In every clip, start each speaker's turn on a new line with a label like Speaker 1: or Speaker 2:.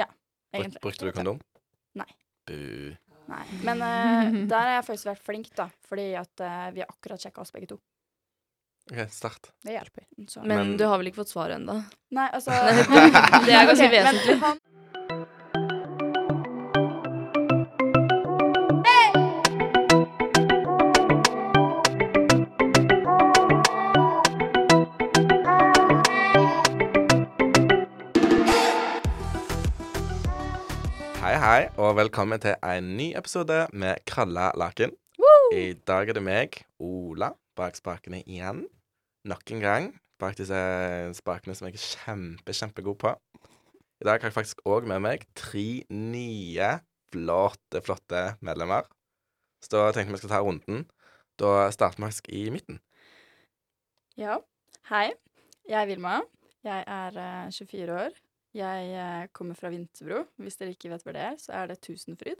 Speaker 1: Bruk,
Speaker 2: egentlig.
Speaker 1: brukte du kondom?
Speaker 2: Nei.
Speaker 1: Bu.
Speaker 2: Nei. Men eh, der har jeg faktisk vært flink, da, fordi at eh, vi har akkurat sjekka oss begge to.
Speaker 1: OK, start.
Speaker 2: Det hjelper. Så.
Speaker 3: Men,
Speaker 1: Men-
Speaker 3: du har vel ikke fått svar ennå?
Speaker 2: Nei, altså
Speaker 3: Det er ganske
Speaker 2: Ok, men
Speaker 3: vesentlig.
Speaker 2: han-
Speaker 1: Hei, hei, og velkommen til en ny episode med Kralla laken. I dag er det meg, Ola, bak spakene igjen. Nok en gang bak disse spakene som jeg er kjempe, kjempegod på. I dag har jeg faktisk òg med meg tre nye flotte, flotte medlemmer. Så da tenkte jeg vi skal ta runden. Da starter vi faktisk i midten.
Speaker 2: Ja. Hei. Jeg er Vilma. Jeg er eh, 24 år. Jeg eh, kommer fra Vinterbro. Hvis dere ikke vet hvor det er, så er det Tusenfryd.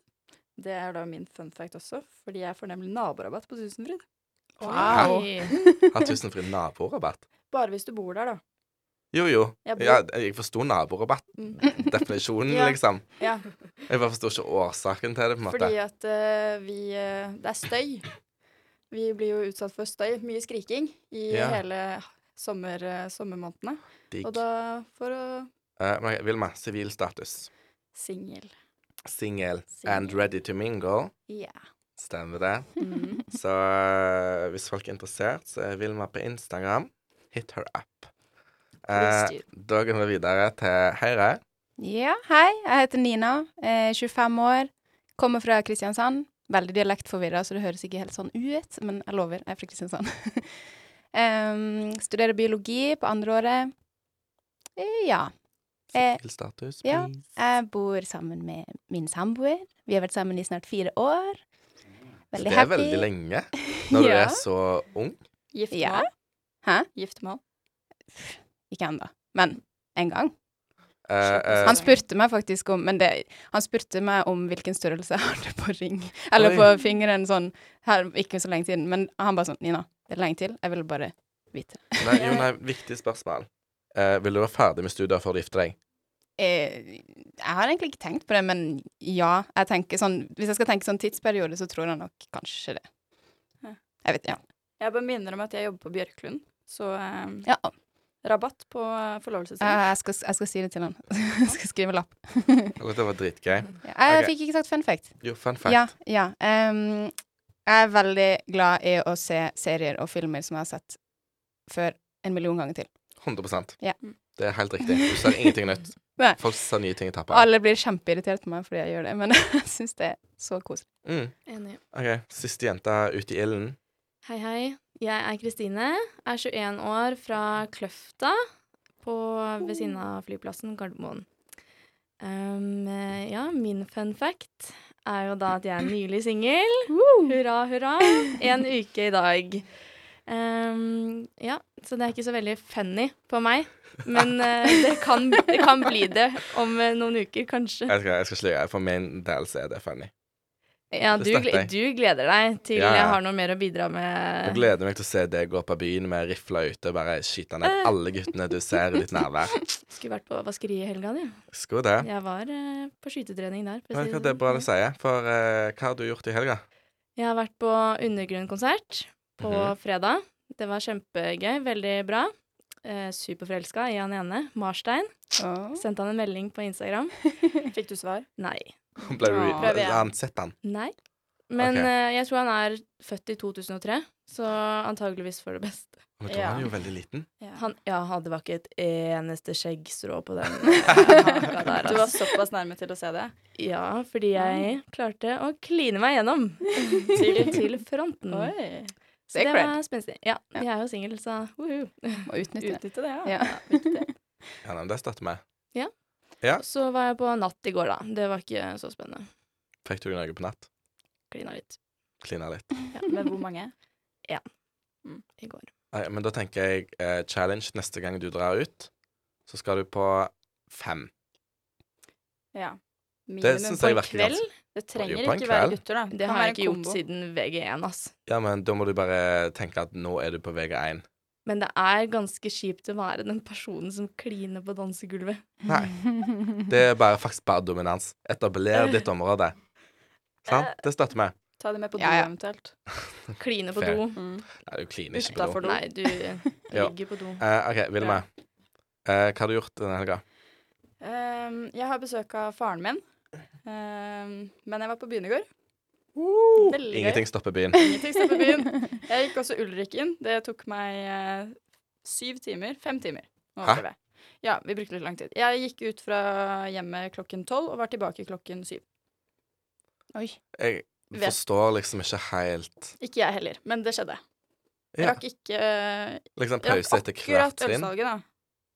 Speaker 2: Det er da min fun fact også, fordi jeg får nemlig naborabatt på Tusenfryd.
Speaker 1: Wow.
Speaker 3: Oi.
Speaker 1: Har tusenfri naborabatt.
Speaker 2: Bare hvis du bor der, da.
Speaker 1: Jo, jo.
Speaker 2: Jeg bor, Mm.
Speaker 1: Ja, jeg forsto naborabatt-definisjonen,
Speaker 2: Ja.
Speaker 1: liksom.
Speaker 2: Ja.
Speaker 1: Jeg bare forsto ikke årsaken til det, på en måte.
Speaker 2: fordi at eh, vi eh, Det er støy. Vi blir jo utsatt for støy. Mye skriking i
Speaker 1: Ja.
Speaker 2: hele sommer, eh, sommermånedene.
Speaker 1: Digg.
Speaker 2: Og da for å
Speaker 1: Eh, men Vilma, sivil status.
Speaker 2: Singel.
Speaker 1: Single
Speaker 2: Single.
Speaker 1: and ready to mingle.
Speaker 2: Ja.
Speaker 1: Stemmer det.
Speaker 2: Mm.
Speaker 3: Mhm.
Speaker 1: Så eh, hvis folk er interessert, så er Vilma på Instagram. Hit her up.
Speaker 2: Please
Speaker 1: Eh, da går vi videre til Høyre.
Speaker 4: Ja, hei. Jeg heter Nina, eh, 25 år, kommer fra Kristiansand. Veldig dialektforvirra, så det høres ikke helt sånn ut, men jeg lover, jeg er fra Kristiansand. Em, studerer biologi på andreåret. Eh, ja. Eh,
Speaker 1: Sivil status,
Speaker 4: ja.
Speaker 1: please.
Speaker 4: Jeg bor sammen med min samboer. Vi har vært sammen i snart fire år.
Speaker 1: Så
Speaker 4: Veldig
Speaker 1: det er
Speaker 4: happy.
Speaker 1: veldig lenge når du
Speaker 4: Ja.
Speaker 1: er så ung.
Speaker 2: Giftermål?
Speaker 4: Hæ?
Speaker 2: Giftermål.
Speaker 4: Ikke ennå, men en gang.
Speaker 1: Eh, eh,
Speaker 4: Han spurte meg faktisk om Men det, han spurte meg om hvilken størrelse jeg hadde på ring. Eller på
Speaker 1: Oi.
Speaker 4: fingeren sånn her, Ikke så lenge siden. Men han bare sånn Nina, det er lenge til. Jeg ville bare vite.
Speaker 1: nei, jo, nei, viktig spørsmål. Eh, vil du være ferdig med studier før du gifter deg?
Speaker 4: Eh, jeg har egentlig ikke tenkt på det, men ja. Jeg tenker sånn Hvis jeg skal tenke sånn tidsperiode, så tror jeg nok kanskje det.
Speaker 2: Ja.
Speaker 4: Jeg vet Ja.
Speaker 2: Jeg bare minner om at jeg jobber på Bjørklund, så eh,
Speaker 4: ja.
Speaker 2: rabatt på eh, forlovelsesring.
Speaker 4: eh, Jeg, skal, jeg skal si det til han. jeg skal skrive lapp.
Speaker 1: Eller det var dritgøy.
Speaker 4: Ja, Jeg
Speaker 1: Ok.
Speaker 4: fikk ikke sagt fun fact.
Speaker 1: Jo, fun fact.
Speaker 4: Ja, ja. Ehm, jeg er veldig glad i å se serier og filmer som jeg har sett før en million ganger til.
Speaker 1: 100
Speaker 4: Ja.
Speaker 1: Det er helt riktig. Du ser ingenting nytt.
Speaker 4: Nei.
Speaker 1: Folk ser nye ting i tappa.
Speaker 4: Alle blir kjempeirritert på meg fordi jeg gjør det, men jeg syns det er så koselig.
Speaker 1: Mm.
Speaker 3: Enig.
Speaker 1: OK, siste jenta ute i ilden.
Speaker 3: Hei, hei. Jeg er Kristine, er 21 år, fra Kløfta på, ved siden av flyplassen Gardermoen. Um, eh, ja, min fun fact er jo da at jeg er nylig singel. Hurra, hurra. En uke i dag. Um, ja, så det er ikke så veldig funny på meg. Men eh, det, kan, det kan bli det om eh, noen uker,
Speaker 4: Mm.
Speaker 3: kanskje.
Speaker 1: Jeg skal, jeg skal sløye. For min del så er det funny.
Speaker 3: Ja,
Speaker 1: Det
Speaker 3: du,
Speaker 1: støtter
Speaker 3: gle-
Speaker 1: jeg.
Speaker 3: du gleder deg til
Speaker 1: Ja, ja.
Speaker 3: jeg har noe mer å bidra
Speaker 1: Jeg
Speaker 3: med.
Speaker 1: gleder meg til å se deg gå på byen med rifla ute og bare skyte
Speaker 4: Eh.
Speaker 1: ned alle guttene du ser i ditt nærvær.
Speaker 3: Skulle vært på vaskeri i helga, du.
Speaker 1: Skulle det.
Speaker 3: Jeg var eh, på skytetrening der. for å
Speaker 1: Men hva
Speaker 3: si det
Speaker 1: det er bra
Speaker 3: sånn.
Speaker 1: du sier, for eh, hva har du gjort i helga?
Speaker 3: Jeg har vært på undergrunnkonsert på
Speaker 1: Mhm.
Speaker 3: fredag. Det var kjempegøy. Veldig bra. Eh, Superforelska i han ene, Marstein. Sendte han en melding på Instagram.
Speaker 2: Fikk du svar?
Speaker 3: Nei.
Speaker 1: Ble du
Speaker 4: Ja.
Speaker 2: Prøver jeg.
Speaker 1: han sett han?
Speaker 3: Nei. Men
Speaker 1: Ok.
Speaker 3: eh, jeg tror han er født i 2003, så antageligvis for det beste.
Speaker 1: Men da
Speaker 2: Ja.
Speaker 1: var han jo veldig liten.
Speaker 3: Han, ja, han- det var ikke et eneste skjeggstrå på den. eh,
Speaker 2: Aha.
Speaker 3: der,
Speaker 2: Du var såpass nærme til å se det.
Speaker 3: Ja, fordi jeg klarte å kline meg gjennom til,
Speaker 2: Til-
Speaker 3: til fronten.
Speaker 2: Oi.
Speaker 3: Så det
Speaker 4: Sacred.
Speaker 3: var spenstig. Ja, jeg er jo singel, så woohoo.
Speaker 4: Må utnytte det.
Speaker 2: Utnytte det, ja.
Speaker 4: Ja.
Speaker 1: Ja, nei, men det støtter meg.
Speaker 3: Så var jeg på natt i går, da. Det var ikke så spennende.
Speaker 1: Fikk du noe på natt?
Speaker 3: Klina litt
Speaker 1: Klina litt.
Speaker 2: Men hvor mange?
Speaker 3: i går.
Speaker 1: Nei, men da tenker jeg eh, challenge neste gang du drar ut, så skal du på fem.
Speaker 2: Ja.
Speaker 1: Det syns jeg
Speaker 3: på en
Speaker 1: virker ganske
Speaker 3: kveld?
Speaker 2: Det trenger
Speaker 1: Jo, på en
Speaker 2: ikke være
Speaker 1: kveld.
Speaker 2: gutter, da.
Speaker 3: Det
Speaker 2: kan
Speaker 3: har
Speaker 2: være
Speaker 3: jeg ikke
Speaker 2: en
Speaker 3: gjort
Speaker 2: kombo.
Speaker 3: siden VG1, ass.
Speaker 1: Ja, men da må du bare tenke at nå er du på VG1.
Speaker 3: Men det er ganske kjipt å være den personen som kliner på dansegulvet.
Speaker 1: Nei. Det er bare, faktisk bare dominans. Etabler ditt område.
Speaker 2: Eh,
Speaker 1: Sant? Det støtter vi.
Speaker 2: Ta det med på do
Speaker 4: Ja, ja.
Speaker 2: eventuelt.
Speaker 3: Kline på
Speaker 1: Fair.
Speaker 3: do.
Speaker 2: Mm.
Speaker 1: Nei, du kliner ikke på do.
Speaker 2: Utafor do.
Speaker 3: Nei, du ligger på do.
Speaker 1: Eh, OK, Vilma. Eh, hva har du gjort denne helga?
Speaker 2: Ehm, jeg har besøk av faren min. Ehm, men jeg var på byen i går. Veldig gøy.
Speaker 1: Ingenting stopper byen.
Speaker 2: Ingenting sted på byen. Jeg gikk også Ulrik inn. Det tok meg eh, syv timer. Fem timer. å
Speaker 1: Hæ?
Speaker 2: oppleve. Ja, vi brukte litt lang tid. Jeg gikk ut fra hjemmet klokken tolv og var tilbake klokken syv.
Speaker 4: Oi.
Speaker 1: Jeg
Speaker 2: Vet.
Speaker 1: forstår liksom ikke helt
Speaker 2: Ikke jeg heller, men det skjedde. Jeg
Speaker 1: Ja,
Speaker 2: rakk ikke eh,
Speaker 1: liksom
Speaker 2: Jeg rakk
Speaker 1: pause etter hvert
Speaker 2: akkurat
Speaker 1: trinn.
Speaker 2: ølsalget, da.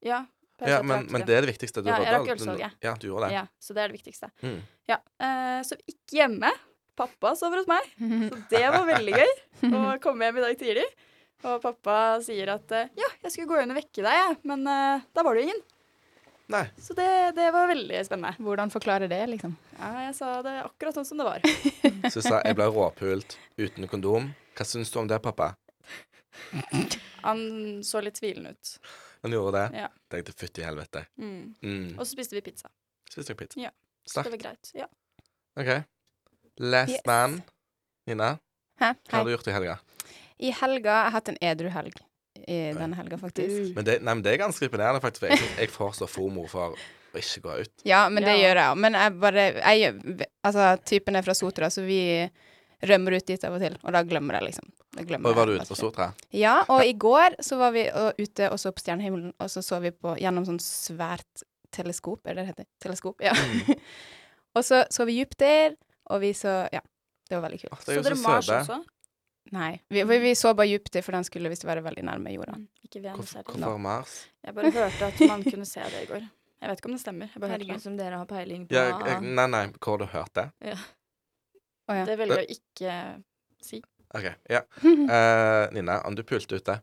Speaker 2: Ja, pause
Speaker 1: Ja,
Speaker 2: etter
Speaker 1: men,
Speaker 2: hvert
Speaker 1: men
Speaker 2: trinn.
Speaker 1: det er det viktigste. Du
Speaker 2: Ja, jeg
Speaker 1: rådde
Speaker 2: rakk
Speaker 1: alt. Du-
Speaker 2: ølsalget.
Speaker 1: Ja, du gjorde det.
Speaker 2: Ja, så det er det viktigste.
Speaker 1: Mm.
Speaker 2: Ja, eh, så vi gikk hjemme. Pappa sover hos meg, så det var veldig gøy å komme hjem i dag tidlig. Og pappa sier at eh, ja, jeg skulle gå inn og vekke deg, jeg, men eh, da var det jo ingen.
Speaker 1: Nei.
Speaker 2: Så det, det var veldig spennende.
Speaker 4: Hvordan forklare det, liksom?
Speaker 2: Ja, jeg sa det akkurat sånn som det var.
Speaker 1: Så sa jeg ble råpult uten kondom. Hva syns du om det, pappa?
Speaker 2: Han så litt tvilende ut.
Speaker 1: Han gjorde det.
Speaker 2: Ja.
Speaker 1: Tenkte fytti helvete.
Speaker 2: Mm.
Speaker 1: Mm.
Speaker 2: Og så spiste vi pizza.
Speaker 1: Spiste dere pizza?
Speaker 2: Ja. Så
Speaker 1: Sterkt.
Speaker 2: det var greit. Ja.
Speaker 1: OK. Last
Speaker 4: Yes.
Speaker 1: man. Nina,
Speaker 4: Hæ?
Speaker 1: hva
Speaker 4: Hei.
Speaker 1: har du gjort i helga?
Speaker 4: I helga Jeg har hatt en edru helg i denne helga, faktisk.
Speaker 1: Men det, nei, men det er ganske imponerende, faktisk. For jeg, synes- jeg får så fomo for å ikke gå ut.
Speaker 4: Ja, men det
Speaker 2: Ja.
Speaker 4: gjør jeg òg. Men jeg bare jeg, gjør- Altså, typen er fra Sotra, så vi rømmer ut dit av og til, og da glemmer jeg, liksom. Da glemmer
Speaker 1: Og var du
Speaker 4: jeg
Speaker 1: ute på
Speaker 4: at-
Speaker 1: Sotra?
Speaker 4: Ja, og i går så var vi og, ute og så på stjernehimmelen, og så så vi på gjennom sånn svært teleskop, er det det heter? Teleskop, ja.
Speaker 1: Mm.
Speaker 4: og så så vi Jupiter, og vi så Ja, det var veldig kult.
Speaker 1: Å,
Speaker 2: Så
Speaker 1: det er
Speaker 2: dere
Speaker 1: jo så
Speaker 2: Mars
Speaker 1: søte.
Speaker 2: også?
Speaker 4: Nei, vi, vi, vi så bare Jupiter, for den skulle visst være veldig nærme jorda.
Speaker 2: Mm, Ikke Venus
Speaker 1: Hvorfor,
Speaker 2: heller.
Speaker 1: hvorfor Mars?
Speaker 2: Jeg bare hørte at man kunne se det i går. Jeg vet ikke om det stemmer. Jeg bare hørte
Speaker 3: Herregud,
Speaker 2: det.
Speaker 3: som dere har peiling på.
Speaker 1: Ja, jeg, nei, nei, hvor har du hørt det?
Speaker 4: ja.
Speaker 2: Det velger jeg å ikke si.
Speaker 1: OK. Ja. Eh, Nina, om du pulte ute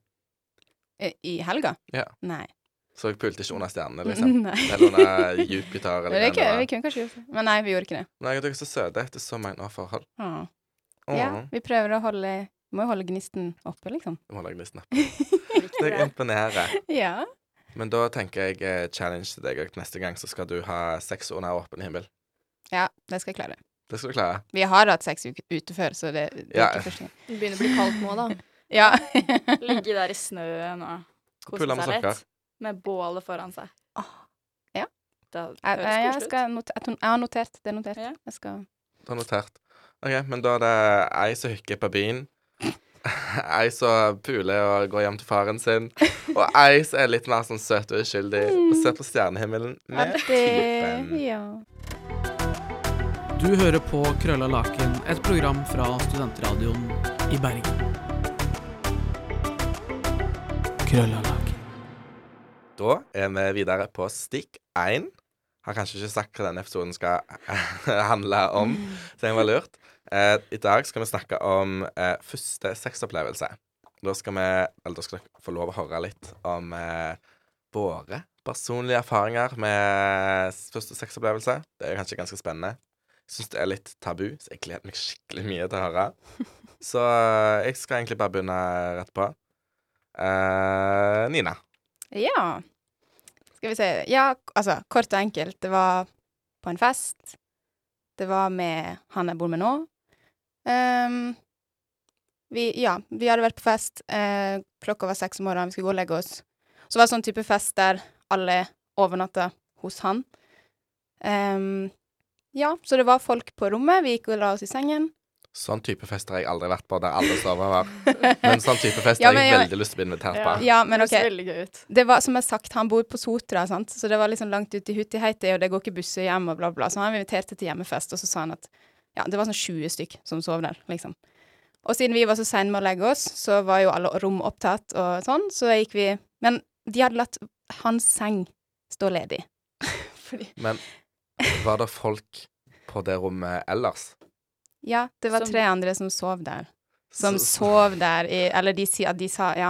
Speaker 4: I- I helga?
Speaker 1: Ja.
Speaker 4: Nei.
Speaker 1: Så jeg pulte ikke under stjernene, liksom.
Speaker 4: nei.
Speaker 1: Eller under Jupiter,
Speaker 4: Det
Speaker 1: eller hva
Speaker 4: er
Speaker 1: det
Speaker 4: ikke, vi
Speaker 1: var.
Speaker 4: kunne kanskje gjort det, men nei, vi gjorde ikke det.
Speaker 1: Nei, dere er så søte etter så mange år forhold.
Speaker 4: Åh.
Speaker 1: Åh,
Speaker 4: Ja, vi prøver å holde vi Må jo holde gnisten oppe, liksom.
Speaker 1: Du må lage litt snap.
Speaker 2: Likte
Speaker 1: Det
Speaker 2: det.
Speaker 1: imponerer.
Speaker 4: Ja.
Speaker 1: Men da tenker jeg eh, challenge til deg og neste gang, så skal du ha sex under åpen himmel.
Speaker 4: ja, det skal jeg klare.
Speaker 1: Det skal du klare.
Speaker 4: Vi har hatt seks uker ute før, så det, det er
Speaker 1: Ja.
Speaker 4: ikke første gang.
Speaker 3: Det begynner å bli kaldt nå, da.
Speaker 4: Ja.
Speaker 2: Ligge der i snøen og kose
Speaker 1: Pulle med
Speaker 2: seg litt.
Speaker 1: sokker.
Speaker 2: Med bålet foran seg.
Speaker 4: Ah. Ja.
Speaker 2: Det
Speaker 4: Jeg, eh,
Speaker 2: høres
Speaker 4: jeg,
Speaker 2: koselig ut.
Speaker 4: skal note, jeg, ton- jeg har notert. Det er notert.
Speaker 2: Ja.
Speaker 4: Jeg skal
Speaker 1: Du har notert. OK, men da er det ei som hykker på byen. Ei som puler og går hjem til faren sin. Og ei som er litt mer sånn søt og uskyldig og ser på stjernehimmelen med typen.
Speaker 4: Ja.
Speaker 5: Du hører på Krølla Laken, et program fra Studentradioen i Bergen. Krølla Laken.
Speaker 1: Da er vi videre på stikk én. Har kanskje ikke sagt hva denne episoden skal handle om, så det var lurt. Eh, I dag skal vi snakke om eh, første sexopplevelse. Da skal vi, eller da skal dere få lov å høre litt om eh, våre personlige erfaringer med s- første sexopplevelse. Det er kanskje ganske spennende. Jeg syns det er litt tabu, så jeg gleder meg skikkelig mye til å høre. Så eh, jeg skal egentlig bare begynne rett på. Eh, Nina.
Speaker 4: ja. Skal vi se Ja, k- altså, kort og enkelt. Det var på en fest. Det var med han jeg bor med nå. Ehm, vi, ja, vi hadde vært på fest. Eh, klokka var seks om morgenen, vi skulle gå og legge oss. Så det var sånn type fest der alle overnatta hos han. Ehm, ja, så det var folk på rommet. Vi gikk og la oss i sengen.
Speaker 1: Sånn type fest har jeg aldri vært på, der alle sover her. Men sånn type fest
Speaker 4: Ja,
Speaker 1: har jeg
Speaker 4: men jeg-
Speaker 1: veldig lyst til å bli invitert
Speaker 2: Ja.
Speaker 1: på.
Speaker 4: Ja, men
Speaker 2: Det høres
Speaker 4: OK.
Speaker 2: veldig gøy ut.
Speaker 4: Det var, som jeg sagt, han bor på Sotra, sant? så det var liksom langt ut i Hutiheiti, og det går ikke busser hjem, og bla, bla. Så han inviterte til hjemmefest, og så sa han at ja, det var sånn 20 stykk som sov der, liksom. Og siden vi var så seine med å legge oss, så var jo alle rom opptatt og sånn, så da gikk vi Men de hadde latt hans seng stå ledig. Fordi
Speaker 1: Men var det folk på det rommet ellers?
Speaker 4: Ja, det var
Speaker 2: Som-
Speaker 4: tre andre som sov der. Som
Speaker 1: Så-
Speaker 4: sov der i Eller de sier at de sa Ja.